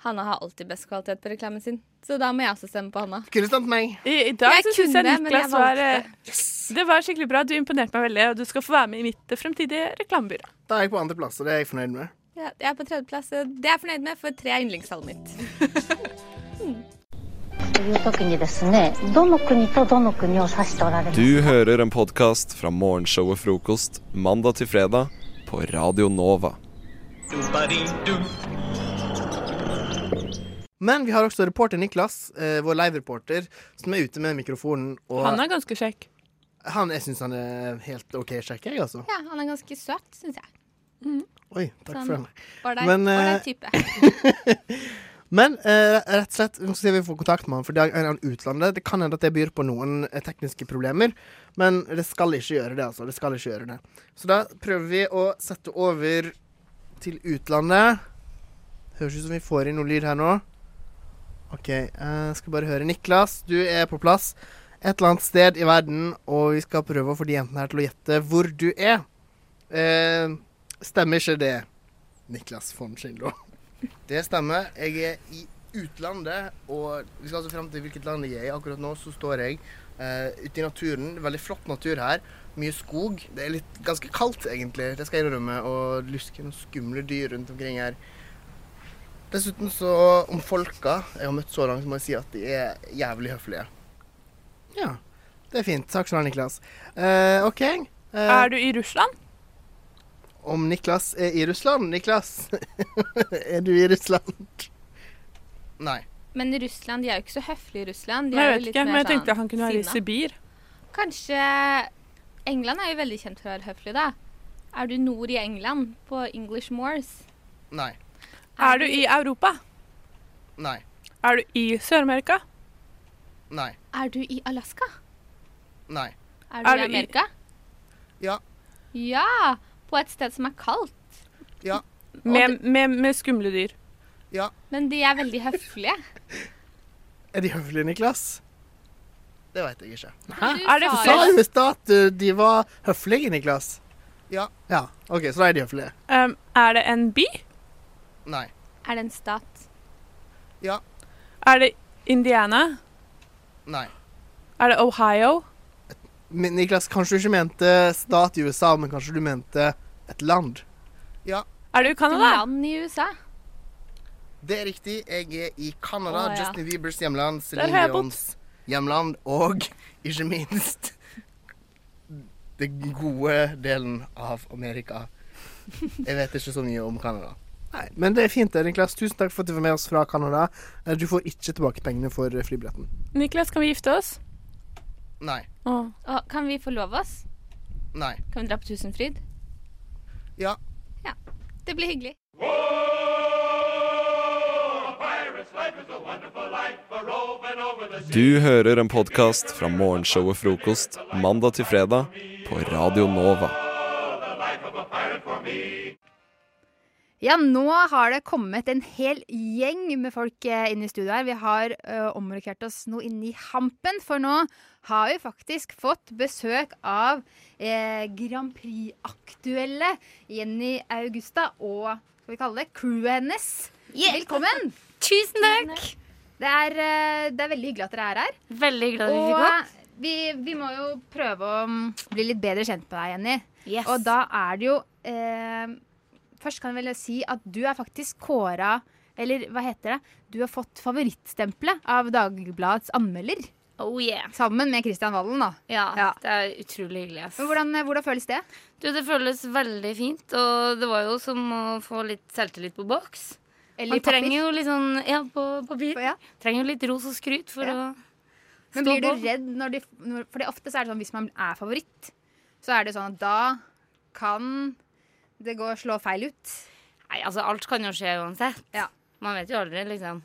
Speaker 20: Hanna har alltid best kvalitet på reklamen sin, så da må jeg også stemme på Hanna.
Speaker 19: Kunne stemt meg.
Speaker 21: I, i dag
Speaker 20: Jeg
Speaker 21: så synes jeg
Speaker 20: kunne, men jeg
Speaker 21: Niklas var
Speaker 20: valgte.
Speaker 21: eh, Det var skikkelig bra. Du imponerte meg veldig, og du skal få være med i mitt eh, fremtidige reklamebyrå.
Speaker 19: Da er jeg på andreplass, og det er jeg fornøyd med.
Speaker 20: Ja, jeg er på tredjeplass. og Det er jeg fornøyd med, for tre er yndlingstallet mitt.
Speaker 19: *laughs*
Speaker 21: Mm.
Speaker 1: という時にですねどの国とどの国を指しておられる
Speaker 2: Du hører en podkast fra morgenshowet Frokost mandag til fredag på Radio Nova.
Speaker 19: Men vi har også reporter Niklas, eh, vår live-reporter, som er ute med mikrofonen. Og
Speaker 21: Han er ganske kjekk.
Speaker 19: Han, jeg syns han er helt OK sjekk, jeg, altså.
Speaker 20: Ja, han er ganske søt, syns jeg. Mm.
Speaker 19: Oi, takk
Speaker 20: Sånn,
Speaker 19: for den.
Speaker 20: ålreit-
Speaker 19: Men,
Speaker 20: ålreit
Speaker 19: eh, *laughs*
Speaker 20: type.
Speaker 19: men eh, rett og slett, nå skal vi få kontakt med han, for i dag er han utlandet. Det kan hende at det byr på noen eh, tekniske problemer, men det skal ikke gjøre det, altså. Det skal ikke gjøre det. Så da prøver vi å sette over til utlandet. Høres ut som vi får inn noe lyd her nå. OK, eh, skal bare høre. Niklas, du er på plass et eller annet sted i verden, og vi skal prøve å få de jentene her til å gjette hvor du er. Eh, stemmer ikke det, Niklas von Schindlo? Det stemmer. Jeg er i utlandet, og vi skal altså frem til hvilket land jeg er i. Akkurat nå så står jeg eh, ute i naturen. Veldig flott natur her. Mye skog. Det er litt ganske kaldt, egentlig. Det skal jeg innrømme. Og lusker noen skumle dyr rundt omkring her. Dessuten så, om folka jeg har møtt så langt, så må jeg si at de er jævlig høflige. Ja. Det er fint. Takk skal du ha, Niklas. Eh, OK. eh,
Speaker 21: Er du i Russland?
Speaker 19: om Niklas er i Russland. Niklas, *laughs* er du i Russland? Nei.
Speaker 20: Men Russland, de er jo ikke så høflige i Russland. De
Speaker 21: Nei, jeg
Speaker 20: er jo
Speaker 21: vet
Speaker 20: litt
Speaker 21: ikke,
Speaker 20: mer
Speaker 21: men jeg tenkte
Speaker 20: sånn
Speaker 21: han kunne være i
Speaker 20: sinna.
Speaker 21: Sibir.
Speaker 20: Kanskje England er jo veldig kjent for å være høflig, da. Er du nord i England, på English Moors?
Speaker 19: Nei.
Speaker 21: Er du i Europa?
Speaker 19: Nei.
Speaker 21: Er du i Sør-Amerika?
Speaker 19: Nei.
Speaker 20: Er du i Alaska?
Speaker 19: Nei.
Speaker 20: Er du,
Speaker 19: Er du
Speaker 20: i
Speaker 19: i-
Speaker 20: Amerika?
Speaker 19: Ja.
Speaker 20: Ja! På et sted som er kaldt.
Speaker 19: Ja.
Speaker 21: Med, med, med skumle dyr.
Speaker 19: Ja.
Speaker 20: Men de er veldig høflige.
Speaker 19: Er de høflige, Niklas? Det veit jeg ikke.
Speaker 21: Hæ? Er det
Speaker 19: Du sa
Speaker 21: flere-
Speaker 19: jo i stad at uh, de var høflige, Niklas.
Speaker 20: Ja.
Speaker 19: Ja, OK, så da er de høflige.
Speaker 21: Um, er det en by?
Speaker 19: Nei.
Speaker 20: Er det en stat?
Speaker 19: Ja.
Speaker 21: Er det Indiana?
Speaker 19: Nei.
Speaker 21: Er det Ohio?
Speaker 19: Men Niklas, kanskje du ikke mente stat i USA, men kanskje du mente et land? *laughs* Ja.
Speaker 21: Er du i Canada?
Speaker 20: Land i USA.
Speaker 19: Det er riktig. Jeg er i Canada,
Speaker 20: Å, ja.
Speaker 19: Justin Biebers hjemland,
Speaker 20: Der
Speaker 19: Celine
Speaker 20: har jeg bodd.
Speaker 19: Dions hjemland, og *laughs* ikke minst det gode delen av Amerika. Jeg vet ikke så mye om Canada. Nei, Men det er fint, det, Niklas. Tusen takk for at du var med oss fra Canada. Eh, Du får ikke tilbake pengene for eh, flybilletten.
Speaker 21: Niklas, kan vi gifte oss?
Speaker 19: Nei.
Speaker 21: Å.
Speaker 20: Og kan vi forlove oss?
Speaker 19: Nei.
Speaker 20: Kan vi dra på Tusenfryd?
Speaker 19: Ja.
Speaker 20: Ja. Det blir hyggelig.
Speaker 2: Du hører en podkast fra morgenshowet Frokost mandag til fredag på Radio Nova.
Speaker 22: Ja, nå har det kommet en hel gjeng med folk eh, inn i studio her. Vi har uh, omrokert oss noe inni hampen, for nå har vi faktisk fått besøk av eh, Grand Prix-aktuelle Jenny Augusta og skal vi kalle det crewet hennes. Velkommen! *laughs* Tusen takk! Det er, eh, det er veldig hyggelig at dere er her.
Speaker 23: Veldig glad vi
Speaker 22: Og eh,
Speaker 23: fikk opp.
Speaker 22: vi, vi må jo prøve å mm, bli litt bedre kjent med deg, Jenny.
Speaker 23: Yes.
Speaker 22: Og da er det jo eh, Først kan jeg vel si at du er faktisk kåra Eller hva heter det? Du har fått favorittstempelet av Dagbladets anmelder.
Speaker 23: Oh yeah.
Speaker 22: Sammen med Kristian Valen, da.
Speaker 23: Ja, det er utrolig hyggelig. Ass.
Speaker 22: Men hvordan, eh, hvordan føles det?
Speaker 23: Du, det føles veldig fint, og det var jo som å få litt selvtillit på boks.
Speaker 22: Eller i
Speaker 23: Man
Speaker 22: papir.
Speaker 23: trenger jo litt sånn Ja, på papir. Trenger jo litt ros og skryt for
Speaker 22: Ja.
Speaker 23: å stå
Speaker 22: Men blir du
Speaker 23: på.
Speaker 22: redd når de når, Fordi ofte så er det sånn hvis man er favoritt, så er det sånn at da kan det gå og slå feil ut.
Speaker 23: Nei, altså, alt kan jo skje uansett. Man vet jo aldri, liksom.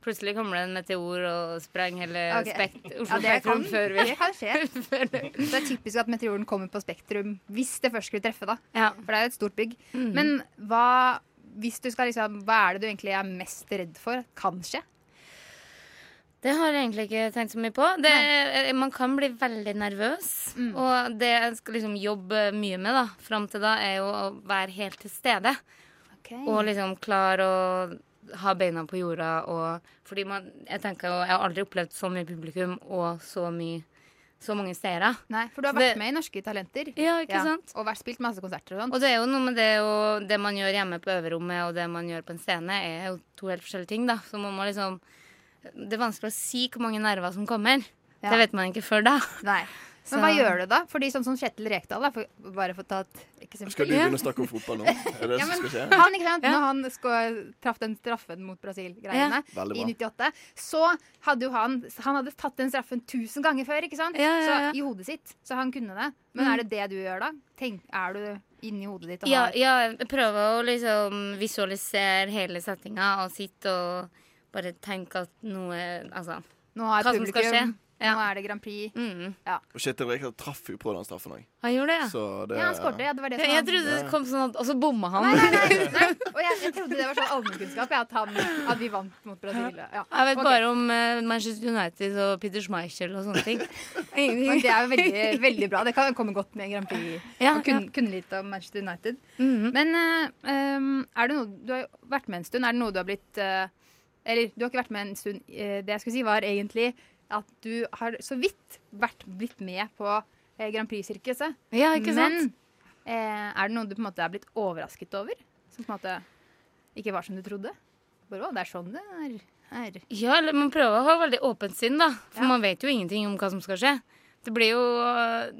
Speaker 23: Plutselig kommer det en meteor og sprenger hele
Speaker 22: Ok.
Speaker 23: Eh, spekt, Oslo
Speaker 22: *laughs* Ja, det
Speaker 23: Spektrum
Speaker 22: kan,
Speaker 23: før vi
Speaker 22: det kan
Speaker 23: *laughs*
Speaker 22: skje. Så det er typisk at meteoren kommer på Spektrum, hvis det først skulle treffe, da. For det er jo et stort bygg.
Speaker 23: Mhm.
Speaker 22: Men hva, hvis du skal liksom, hva er det du egentlig er mest redd for kan skje?
Speaker 23: Det har jeg egentlig ikke tenkt så mye på. Det, eh, man kan bli veldig nervøs.
Speaker 22: Mm.
Speaker 23: Og det jeg skal liksom jobbe mye med da, fram til da, er jo å være helt til stede. Og liksom klare å ha beina på jorda og Fordi man Jeg tenker jo Jeg har aldri opplevd så mye publikum og så mye så mange seere.
Speaker 22: Nei, for du har
Speaker 23: Så det-
Speaker 22: vært med i Norske Talenter.
Speaker 23: Ja, ikke sant?
Speaker 22: Og vært spilt masse konserter og sånt.
Speaker 23: Og det er jo noe med det og det man gjør hjemme på øverrommet og det man gjør på en scene, er jo to helt forskjellige ting, da. Så man må liksom Det er vanskelig å si hvor mange nerver som kommer.
Speaker 22: Ja.
Speaker 23: Det vet man ikke før da. *laughs*
Speaker 22: Nei. Men hva gjør du da? Fordi sånn som Kjetil Rekdal, da, for, bare for å ta et eksempel.
Speaker 24: Skal du begynne å snakke om
Speaker 22: *laughs*
Speaker 24: fotball nå? Er det det
Speaker 22: Ja,
Speaker 24: som
Speaker 22: men
Speaker 24: skal skje?
Speaker 22: han, ikke sant? Når han sko- traff den straffen mot Brasil-greiene
Speaker 24: Ja. Veldig
Speaker 22: i
Speaker 24: bra.
Speaker 22: 98, så hadde jo han Han hadde tatt den straffen tusen ganger før, ikke sant?
Speaker 23: Ja, ja, ja.
Speaker 22: Så, I hodet sitt. Så han kunne det. Men
Speaker 23: Mm.
Speaker 22: er det det du gjør da? Tenk, er du inni hodet ditt og
Speaker 23: Ja,
Speaker 22: har
Speaker 23: ja, jeg prøver å liksom visualisere hele settinga og sitte og bare tenke at noe Altså
Speaker 22: Nå har
Speaker 23: hva som
Speaker 22: publikum
Speaker 23: skal skje. Mm.
Speaker 22: Nå er det Grand Prix. Ja.
Speaker 24: Og Kjetil Rekdal traff jo på den straffen òg.
Speaker 23: Han gjorde det, ja.
Speaker 24: Så det
Speaker 22: Ja, han skårte, ja. Det var det
Speaker 23: Jeg,
Speaker 22: som
Speaker 23: jeg trodde det kom sånn at Og så bomma han. *laughs*
Speaker 22: Og jeg, jeg trodde det var sånn allmennkunnskap, jeg, at, han- at vi vant mot Brasil. Ja.
Speaker 23: Jeg vet
Speaker 22: Ok.
Speaker 23: bare om eh, Manchester United og Peter Schmeichel og sånne
Speaker 22: *laughs*
Speaker 23: ting. Ingenting.
Speaker 22: Men det er jo veldig, veldig bra. Det kan komme godt med en Grand Prix.
Speaker 23: Ja, Mhm.
Speaker 22: og kunne, kunne litt om Manchester United. Men eh, um, er det noe Du har jo vært med en stund. Er det noe du har blitt eh, Eller du har ikke vært med en stund. Eh, det jeg skulle si, var egentlig at du har så vidt vært, blitt med på eh, Grand Prix-sirkuset.
Speaker 23: Ja, ikke
Speaker 22: Men
Speaker 23: sant?
Speaker 22: eh, er det noe du på en måte er blitt overrasket over? Som på en måte ikke var som du trodde? Bare, å, det er sånn det er. er.
Speaker 23: Ja, eller man prøver å ha veldig åpent sinn, da. For
Speaker 22: Ja.
Speaker 23: man vet jo ingenting om hva som skal skje. Det, blir jo,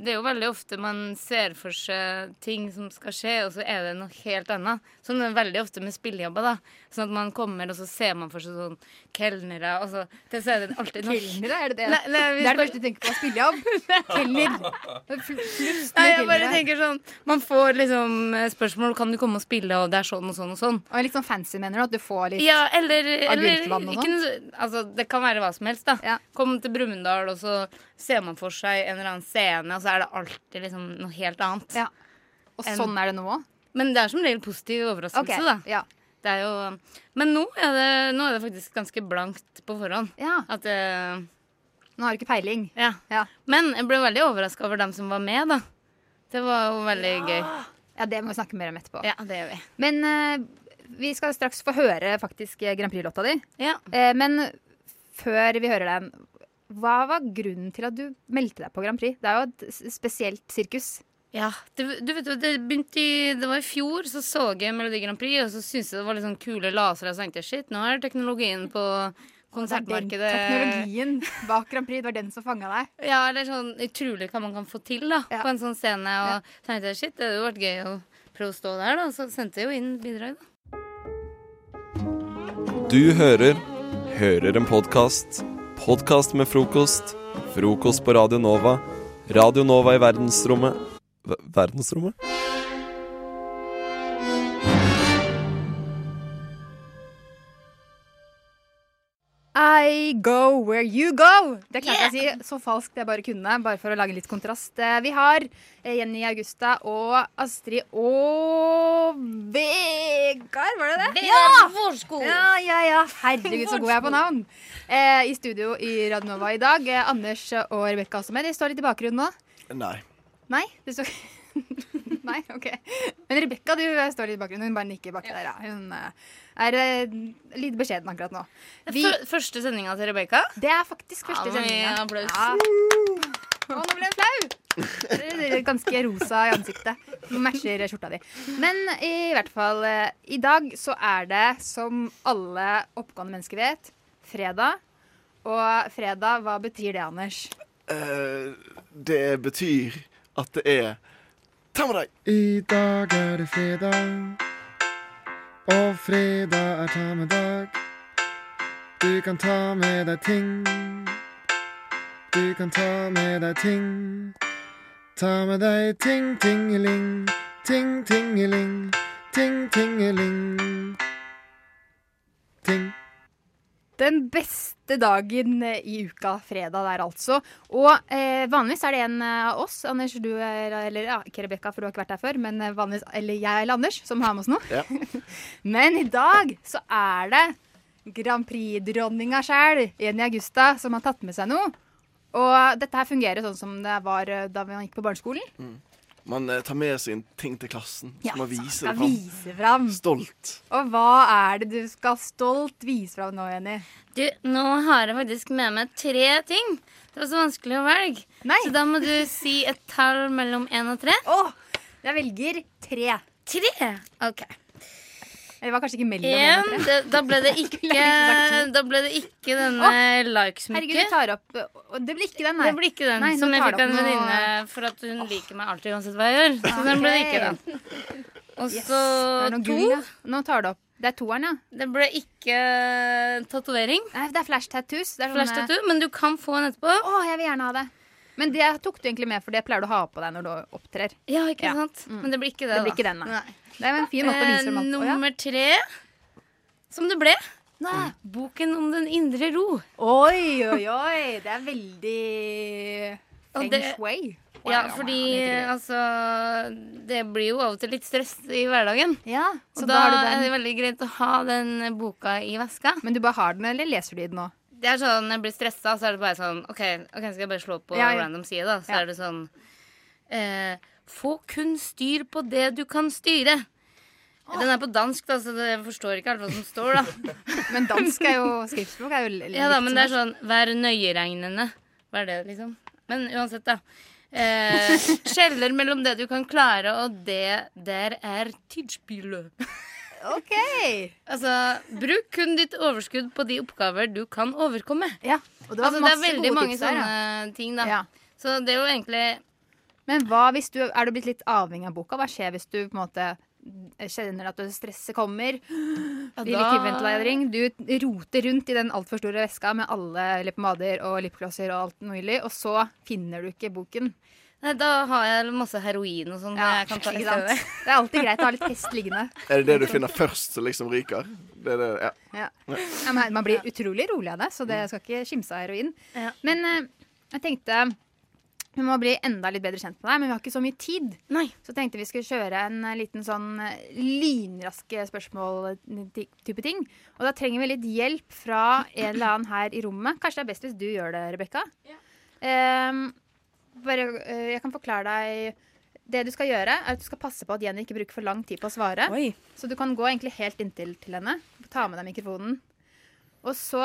Speaker 23: det er jo veldig ofte man ser for seg ting som skal skje, og så er det noe helt annet. Sånn er det veldig ofte med spillejobber. da. Sånn at man kommer, og så ser man for seg sånn kelnere og så, det, så er det alltid noe-
Speaker 22: Kelnere, er det det?
Speaker 23: Nei, nei, vi
Speaker 22: det er
Speaker 23: skal-
Speaker 22: det første du tenker på?
Speaker 23: *laughs*
Speaker 22: Spillejobb? Kelner.
Speaker 23: Nei, jeg bare tenker sånn Man får liksom eh, spørsmål Kan du komme og spille, og det er sånn og sånn og sånn.
Speaker 22: Og litt sånn fancy, mener du? At du får litt
Speaker 23: Ja, eller, eller
Speaker 22: agurkvann og
Speaker 23: ikke
Speaker 22: sånn?
Speaker 23: noe- altså, Det kan være hva som helst, da. Kom til Brumunddal, og så ser man for seg en eller annen scene, og så er det alltid liksom noe helt annet.
Speaker 22: Og sånn er det nå òg?
Speaker 23: Men det er som regel positiv overraskelse,
Speaker 22: Ok,
Speaker 23: da. Det er jo, men nå er, det, nå er det faktisk ganske blankt på forhånd. At eh,
Speaker 22: Nå har du ikke peiling.
Speaker 23: Ja. Men jeg ble veldig overraska over dem som var med, da. Det var jo veldig gøy.
Speaker 22: Ja, det må vi snakke mer om etterpå.
Speaker 23: Ja, det gjør vi.
Speaker 22: Men eh, vi skal straks få høre faktisk eh, Grand Prix-låta di. Eh, men før vi hører den, hva var grunnen til at du meldte deg på Grand Prix? Det er jo et s- spesielt sirkus.
Speaker 23: Ja, det, du vet jo, det begynte i Det var i fjor, så så jeg Melodi Grand Prix, og så syntes jeg det var litt sånn kule lasere, og så tenkte jeg shit, nå er teknologien på
Speaker 22: Det
Speaker 23: konsertmarkedet
Speaker 22: er den teknologien bak Grand Prix, det var den som fanga deg.
Speaker 23: Ja, eller sånn utrolig hva man kan få til da på en sånn scene. Og så tenkte jeg shit, det hadde jo vært gøy å prøve å stå der, da. Så sendte jeg jo inn bidrag, da.
Speaker 2: Du hører Hører en podkast. Podkast med frokost. Frokost på Radio Nova. Radio Nova i verdensrommet Ver- Verdensrommet?
Speaker 22: I go where you go. Det klarte jeg å si så falskt jeg bare kunne, bare for å lage litt kontrast. Eh, Vi har eh, Jenny Augusta og Astrid og Vegard, var det det?
Speaker 23: Vegard Vårskog.
Speaker 22: Ja, ja, ja. Herregud, så god jeg er på navn. Eh, I studio i Radionova i dag. Eh, Anders og Rebekka også med. De står litt i bakgrunnen nå.
Speaker 24: Nei.
Speaker 22: Nei? Du står *laughs* Nei, OK. Men Rebekka du eh, står litt i bakgrunnen. Hun bare nikker baki der, ja. Hun eh, er eh, litt beskjeden akkurat nå.
Speaker 23: Fø- Første sendinga til Rebekka?
Speaker 22: Det er faktisk første
Speaker 23: Ja, men
Speaker 22: sendinga.
Speaker 23: applaus.
Speaker 22: Å, nå ble jeg flau! Det er Ganske rosa i ansiktet. Matcher skjorta di. Men i hvert fall, eh, i dag så er det, som alle oppegående mennesker vet, fredag. Og fredag, hva betyr det, Anders?
Speaker 24: Eh, det betyr at det er Ta med deg! I dag er det fredag,
Speaker 3: Og fredag er ta med dag. Du kan ta med deg ting. Du kan ta med deg ting. Ta med deg ting, tingeling. Ting, tingeling. Ting, tingeling. Ting.
Speaker 22: Den beste dagen eh, i uka, fredag der altså. Og eh, vanligvis er det en av oss, Anders, du er, eller ja, ikke Rebekka, for du har ikke vært her før, men eh, vanligvis, eller jeg eller Anders, som har med oss nå. Men i dag så er det Grand Prix-dronninga sjæl, Jenny Augusta, som har tatt med seg noe. Og dette her fungerer sånn som det var eh, da man gikk på barneskolen.
Speaker 24: Man eh, tar med seg en ting til klassen. Så
Speaker 22: Ja,
Speaker 24: man
Speaker 22: så
Speaker 24: viser
Speaker 22: skal
Speaker 24: det fram.
Speaker 22: vise fram.
Speaker 24: Stolt.
Speaker 22: Og hva er det du skal stolt vise fram nå, Jenny?
Speaker 23: Du, nå har jeg faktisk med meg tre ting. Det var så vanskelig å velge. Så da må du si et tall mellom én og tre.
Speaker 22: Åh, jeg velger tre.
Speaker 23: Tre? Ok.
Speaker 22: Eller det var kanskje ikke mellom
Speaker 23: En,
Speaker 22: og tre.
Speaker 23: det, da ble
Speaker 22: *laughs*
Speaker 23: det
Speaker 22: Skulle
Speaker 23: ikke,
Speaker 22: jeg egentlig sagt to.
Speaker 23: da ble det ikke denne
Speaker 22: Å, Herregud,
Speaker 23: likesmykket.
Speaker 22: du tar opp og Det blir ikke den,
Speaker 23: Det blir ikke den
Speaker 22: Nei, nå Ah,
Speaker 23: som jeg
Speaker 22: tar
Speaker 23: fikk
Speaker 22: du
Speaker 23: av en
Speaker 22: opp noe-
Speaker 23: venninne for at hun liker meg alltid uansett hva jeg gjør. Så den ble det ikke den.
Speaker 22: *laughs*
Speaker 23: Og
Speaker 22: Yes,
Speaker 23: så
Speaker 22: det er noe
Speaker 23: to.
Speaker 22: gull, ja. Nå tar du opp. Det er toeren, ja.
Speaker 23: Det ble ikke tatovering.
Speaker 22: Nei, det er flash tattoos. Det er
Speaker 23: Flash
Speaker 22: sånne-
Speaker 23: tattoo, men du kan få en etterpå.
Speaker 22: Å, jeg vil gjerne ha det. Men det tok du egentlig med, for det pleier du å ha på deg når du opptrer. Mm.
Speaker 23: Ja, ikke sant? Men det blir ikke det,
Speaker 22: Det blir
Speaker 23: da.
Speaker 22: ikke den, nei.
Speaker 23: Nei.
Speaker 22: Det er jo en fin måte å vise
Speaker 23: Eh,
Speaker 22: dem alt på, ja.
Speaker 23: Nummer tre, som det ble. Boken om den indre ro.
Speaker 22: Oi, oi, oi. Det er veldig
Speaker 23: Og
Speaker 22: feng
Speaker 23: det-
Speaker 22: shui. Wow,
Speaker 23: Ja,
Speaker 22: wow,
Speaker 23: fordi
Speaker 22: wow,
Speaker 23: altså Det blir jo av og til litt stress i hverdagen.
Speaker 22: Ja, så
Speaker 23: og
Speaker 22: da
Speaker 23: da,
Speaker 22: har du den.
Speaker 23: er det veldig greit å ha den boka i veska.
Speaker 22: Men du bare har den, eller leser du i den nå?
Speaker 23: Det er sånn, Når jeg blir stressa, så er det bare sånn OK, ok, skal jeg bare slå på
Speaker 22: Ja, ja.
Speaker 23: random side, da. Så
Speaker 22: Ja.
Speaker 23: er det sånn eh, Få kun styr på det du kan styre. Den er på dansk, da, så det- jeg forstår ikke alt hva som står, da.
Speaker 22: *laughs* Men dansk er
Speaker 23: *laughs*
Speaker 22: jo skriftspråk. Er jo l-
Speaker 23: Ja da,
Speaker 22: litt
Speaker 23: men
Speaker 22: som
Speaker 23: det er
Speaker 22: norsk.
Speaker 23: sånn Vær nøyeregnende. Hva er det, liksom? Men uansett, da.
Speaker 22: *laughs*
Speaker 23: Eh, skjeller mellom det du kan klare, og det der er tidsspillet.
Speaker 22: OK.
Speaker 23: Altså, bruk kun ditt overskudd på de oppgaver du kan overkomme.
Speaker 22: Ja, og det var
Speaker 23: altså, det er
Speaker 22: masse
Speaker 23: veldig
Speaker 22: gode
Speaker 23: mange
Speaker 22: tips der,
Speaker 23: sånne
Speaker 22: ja.
Speaker 23: ting, da. Så det er jo egentlig
Speaker 22: Men hva hvis du er du blitt litt avhengig av boka? Hva skjer hvis du på en måte kjenner at stresset kommer.
Speaker 20: Ja,
Speaker 22: Vil
Speaker 20: da-
Speaker 22: ikke ventilering. Du roter rundt i den altfor store veska med alle leppepomader og lipglosser og alt mulig, og så finner du ikke boken.
Speaker 23: Nei, da har jeg masse heroin og sånn.
Speaker 22: Ja,
Speaker 23: jeg kan ta i
Speaker 22: ikke
Speaker 23: stedet.
Speaker 22: sant? Det er alltid greit å ha litt hest liggende.
Speaker 24: Er det det du finner først som liksom ryker? Det er det, ja.
Speaker 22: Ja.
Speaker 24: Ja.
Speaker 22: Ja, men man blir utrolig rolig av det, så det jeg skal ikke kimse av heroin. Men eh, jeg tenkte vi må bli enda litt bedre kjent med deg, men vi har ikke så mye tid. Så tenkte vi skulle kjøre en eh, liten sånn eh, lynraske spørsmål-type ting. Og da trenger vi litt hjelp fra en eller annen her i rommet. Kanskje det er best hvis du gjør det, Rebekka. Ehm, bare, eh, jeg kan forklare deg Det du skal gjøre, er at du skal passe på at Jenny ikke bruker for lang tid på å svare. Så du kan gå egentlig helt inntil til henne. Ta med deg mikrofonen. Og så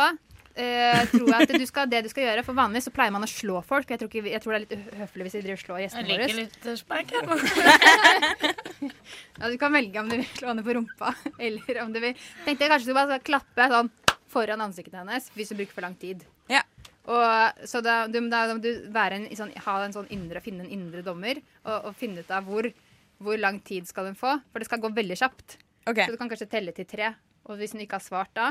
Speaker 22: eh, tror jeg at du skal, det du skal gjøre, for vanligvis så pleier man å slå folk. Jeg tror, ikke, vi- jeg tror det er litt uhøflig hvis vi driver og slår gjestene våre. Ja, du kan velge om du vil slå henne på rumpa, *laughs* eller om du vil Tenkte jeg kanskje du bare skal klappe sånn foran ansiktet hennes hvis du bruker for lang tid. Og, så da, du, da må du være en, i sånn, ha en sånn indre, finne en indre dommer og, og finne ut av hvor, hvor lang tid skal hun få. For det skal gå veldig kjapt. Så du kan kanskje telle til tre. Og hvis hun ikke har svart da,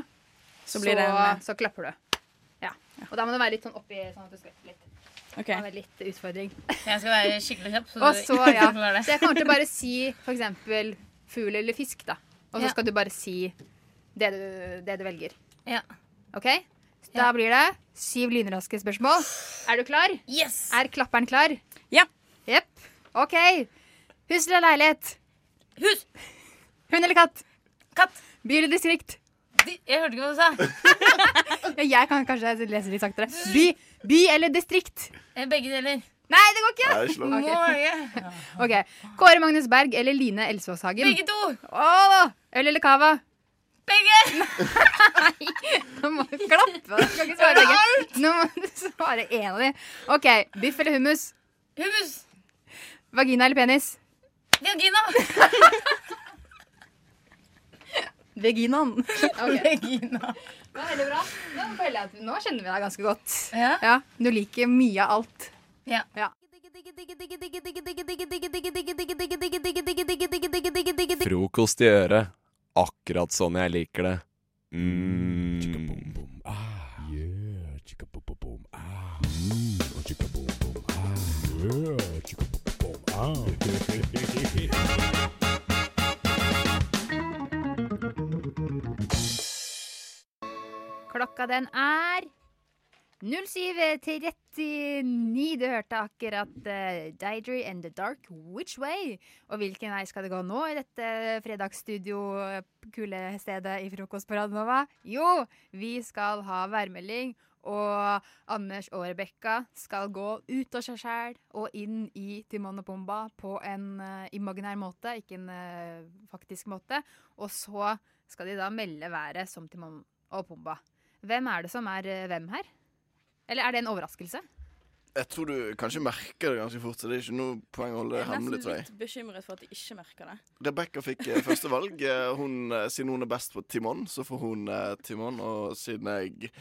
Speaker 4: Så blir det en- eh,
Speaker 22: så klapper du. Ja. Og da må du være litt sånn oppi sånn
Speaker 5: *laughs*
Speaker 22: at du skvetter litt.
Speaker 4: Ok.
Speaker 22: Det må være litt utfordring.
Speaker 4: Jeg skal være skikkelig kjapp, så
Speaker 22: Og
Speaker 4: du- *laughs*
Speaker 22: så, ja.
Speaker 4: du klarer det.
Speaker 22: så jeg kommer til å bare si for eksempel fugl eller fisk, da. Og så
Speaker 4: Ja.
Speaker 22: skal du bare si det du, det du velger.
Speaker 4: Ja.
Speaker 22: OK? Så Da blir det syv lynraske spørsmål. Er du klar?
Speaker 4: Yes!
Speaker 22: Er klapperen klar?
Speaker 4: Ja.
Speaker 22: Jepp. OK. Hus eller leilighet?
Speaker 4: Hus.
Speaker 22: Hund eller katt?
Speaker 4: Katt.
Speaker 22: By eller distrikt?
Speaker 4: Jeg hørte ikke hva du sa.
Speaker 22: *laughs* Ja, jeg kan kanskje lese litt saktere. By, by eller distrikt?
Speaker 4: Eh, Begge deler.
Speaker 22: Nei, det går
Speaker 4: Nei,
Speaker 22: ikke!
Speaker 4: slå. Norge.
Speaker 22: Ok. Kåre Magnus Berg eller Line Elsvåshagen?
Speaker 4: Begge to.
Speaker 22: Åh, øl eller cava?
Speaker 4: Begge!
Speaker 22: Nå må du klappe. Du kan ikke svare begge. Nå må du svare én av dem. OK. Biff eller hummus?
Speaker 4: Hummus.
Speaker 22: Vagina eller penis?
Speaker 4: Vagina.
Speaker 22: Veginaen.
Speaker 4: Vegina.
Speaker 22: Det var veldig bra. Nå føler jeg at nå kjenner vi deg ganske godt. Ja. Du liker mye av alt.
Speaker 4: Ja.
Speaker 2: Frokost i øret. Akkurat sånn jeg liker det. Mm.
Speaker 22: Klokka den er 07.39. Du hørte akkurat uh, Didry and The Dark Which Way. Og hvilken vei skal det gå nå i dette fredagsstudio-kulestedet i frokost på Radnova? Jo, vi skal ha værmelding. Og Anders og Rebekka skal gå ut av seg sjæl og inn i Timon og Pumba på en eh, imaginær måte, ikke en eh, faktisk måte. Og så skal de da melde været som Timon og Pumba. Hvem er det som er eh, hvem her? Eller er det en overraskelse?
Speaker 24: Jeg tror du kanskje merker det ganske fort, så det er ikke noe poeng å holde det
Speaker 4: Jeg er nesten
Speaker 24: hemmelig, tror jeg.
Speaker 4: litt bekymret for at de ikke merker det.
Speaker 24: Rebekka fikk eh, første valg. Eh, Hun, eh, siden hun er best på Timon, så får hun eh, Timon. Og siden jeg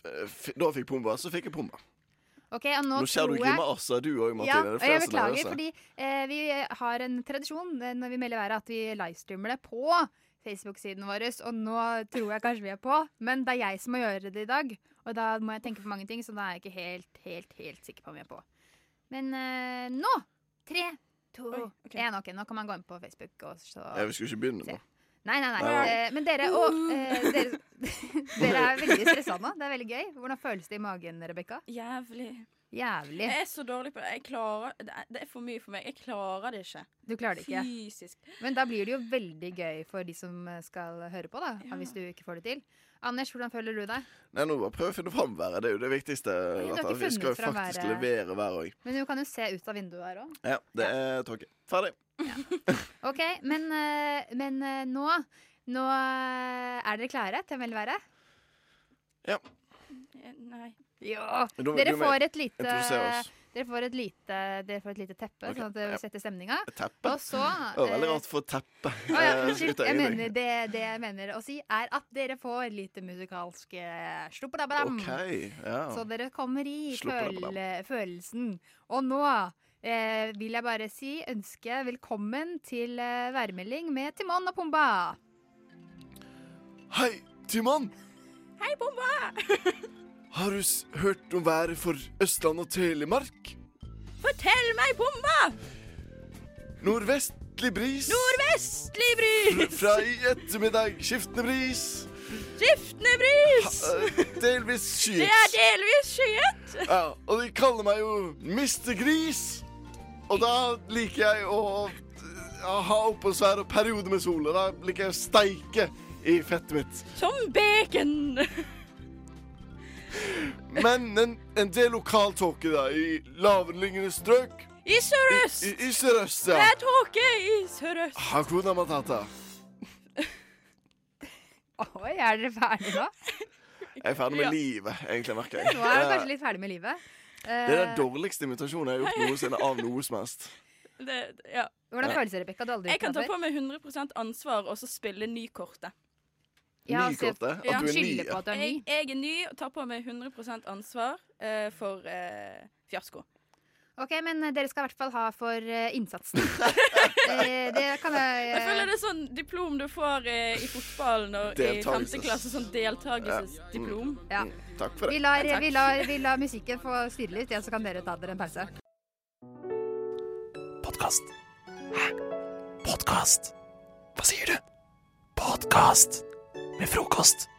Speaker 24: f f da fikk Pumba, så fikk jeg Pumba.
Speaker 22: Ok, og nå,
Speaker 24: Nå, ser
Speaker 22: tror
Speaker 24: du
Speaker 22: jeg-
Speaker 24: grimaser, du òg,
Speaker 22: Ja,
Speaker 24: Martine.
Speaker 22: og
Speaker 24: Det er
Speaker 22: jeg
Speaker 24: flere som
Speaker 22: beklager,
Speaker 24: nervøse.
Speaker 22: fordi eh, vi har en tradisjon eh, når vi melder været, at vi livestreamer det på Facebook-siden vår. Og nå tror jeg kanskje vi er på, men det er jeg som må gjøre det i dag. Og da må jeg tenke på mange ting, så da er jeg ikke helt, helt, helt sikker på om vi er på. Men eh, nå! Tre, to, én. Ok, nå kan man gå inn på Facebook og så
Speaker 24: Ja, vi skulle ikke begynne nå.
Speaker 22: Nei, nei, nei.
Speaker 24: Nei, nei.
Speaker 22: Eh, Men dere, og, eh, dere, *laughs* dere er veldig stressa nå. Det er veldig gøy. Hvordan føles det i magen, Rebekka?
Speaker 4: Jævlig.
Speaker 22: Jævlig.
Speaker 4: Jeg er så dårlig på det. Jeg klarer, det, er, det er for mye for meg. Jeg klarer det ikke.
Speaker 22: Du klarer det ikke.
Speaker 4: Fysisk.
Speaker 22: Men da blir det jo veldig gøy for de som eh, skal høre på, da. Hvis du ikke får det til. Anders, hvordan føler du deg?
Speaker 24: Nei, nå bare prøv å finne fram været. Det er jo det viktigste.
Speaker 22: dere
Speaker 24: Martha. Vi
Speaker 22: funnet
Speaker 24: skal jo
Speaker 22: fram
Speaker 24: faktisk
Speaker 22: været.
Speaker 24: levere været òg.
Speaker 22: Men du kan jo se ut av vinduet her òg.
Speaker 24: Ja, det er tåke. Ferdig.
Speaker 22: OK, men, eh, men eh, nå Nå eh, er dere klare til å melde været?
Speaker 4: Eh, Nei.
Speaker 22: Ja.
Speaker 4: Du må-
Speaker 22: Dere
Speaker 4: du må
Speaker 22: får et lite
Speaker 4: introdusere oss.
Speaker 22: dere får et lite, dere får et lite teppe,
Speaker 24: Ok,
Speaker 22: sånn at det
Speaker 24: ja.
Speaker 22: setter stemninga.
Speaker 24: Et teppe?
Speaker 22: Og så
Speaker 24: Det var veldig
Speaker 22: eh,
Speaker 24: rart å få teppe.
Speaker 22: Å ja,
Speaker 24: eh, *laughs*
Speaker 22: unnskyld.
Speaker 24: ut av
Speaker 22: Jeg
Speaker 24: øynene.
Speaker 22: mener det, det jeg mener å si, er at dere får litt musikalsk eh, sluppadabram.
Speaker 24: OK. Ja.
Speaker 22: Så dere kommer i føl
Speaker 24: Sluppadabadam.
Speaker 22: følelsen. Og nå eh, vil jeg bare si ønske velkommen til eh, værmelding med Timon og Pumba.
Speaker 25: Hei, Timon!
Speaker 26: Hei, Bomba!
Speaker 25: Har du s hørt om været for Østland og Telemark?
Speaker 26: Fortell meg, Bomba!
Speaker 25: Nordvestlig bris
Speaker 26: Nordvestlig
Speaker 25: fr-
Speaker 26: bris!
Speaker 25: *laughs* fra i ettermiddag. Skiftende bris.
Speaker 26: Skiftende bris!
Speaker 25: Eh,
Speaker 26: *laughs*
Speaker 25: Delvis skyet.
Speaker 26: Det er delvis skyet.
Speaker 25: Ja, og de kaller meg jo Mr. Gris. Og da liker jeg å ja, ha oppholdsvær og perioder med sol, og da liker jeg å steike i fettet mitt.
Speaker 26: Som bacon.
Speaker 25: Men en, en del lokal tåke, da, i lavereliggende strøk.
Speaker 26: I sørøst.
Speaker 25: I, i sørøst,
Speaker 26: Det
Speaker 25: ja.
Speaker 26: er tåke i sørøst.
Speaker 25: Hakuna matata.
Speaker 22: Oi, er dere ferdige nå?
Speaker 25: Jeg er ferdig med
Speaker 22: Ja.
Speaker 25: livet, egentlig, merker jeg.
Speaker 22: Nå er dere
Speaker 25: Eh,
Speaker 22: kanskje eh, litt ferdig med livet. Eh,
Speaker 25: Det er den dårligste invitasjonen jeg har
Speaker 22: *laughs*
Speaker 25: gjort noensinne av noe som helst.
Speaker 26: Det, ja.
Speaker 22: Hvordan føles det, Rebekka? Du har aldri
Speaker 26: Jeg
Speaker 22: gjort
Speaker 26: kan ta
Speaker 22: det
Speaker 26: på
Speaker 22: før.
Speaker 26: meg 100 ansvar og så spille nykortet.
Speaker 22: Ja, altså, Nykortet? At du er ny,
Speaker 26: skylder
Speaker 22: ja. på at du er ny.
Speaker 26: Jeg, jeg er ny og tar på meg 100 ansvar eh, for eh, fiasko.
Speaker 22: Ok, men eh, dere skal i hvert fall ha for eh,
Speaker 26: *laughs*
Speaker 22: innsatsen. *laughs* Eh, det kan jeg
Speaker 26: Jeg føler det er sånn diplom du får eh, i fotball
Speaker 22: *laughs*
Speaker 26: når, i
Speaker 22: Deltagelses-
Speaker 26: 5. klasse. Sånn deltakelsesdiplom.
Speaker 22: Ja.
Speaker 25: Takk
Speaker 22: Vi lar, vi, lar, vi lar musikken få styre litt, ja, så kan dere ta dere en pause.
Speaker 27: Podkast. Hæ? Podkast? Hva sier du? Podkast med frokost.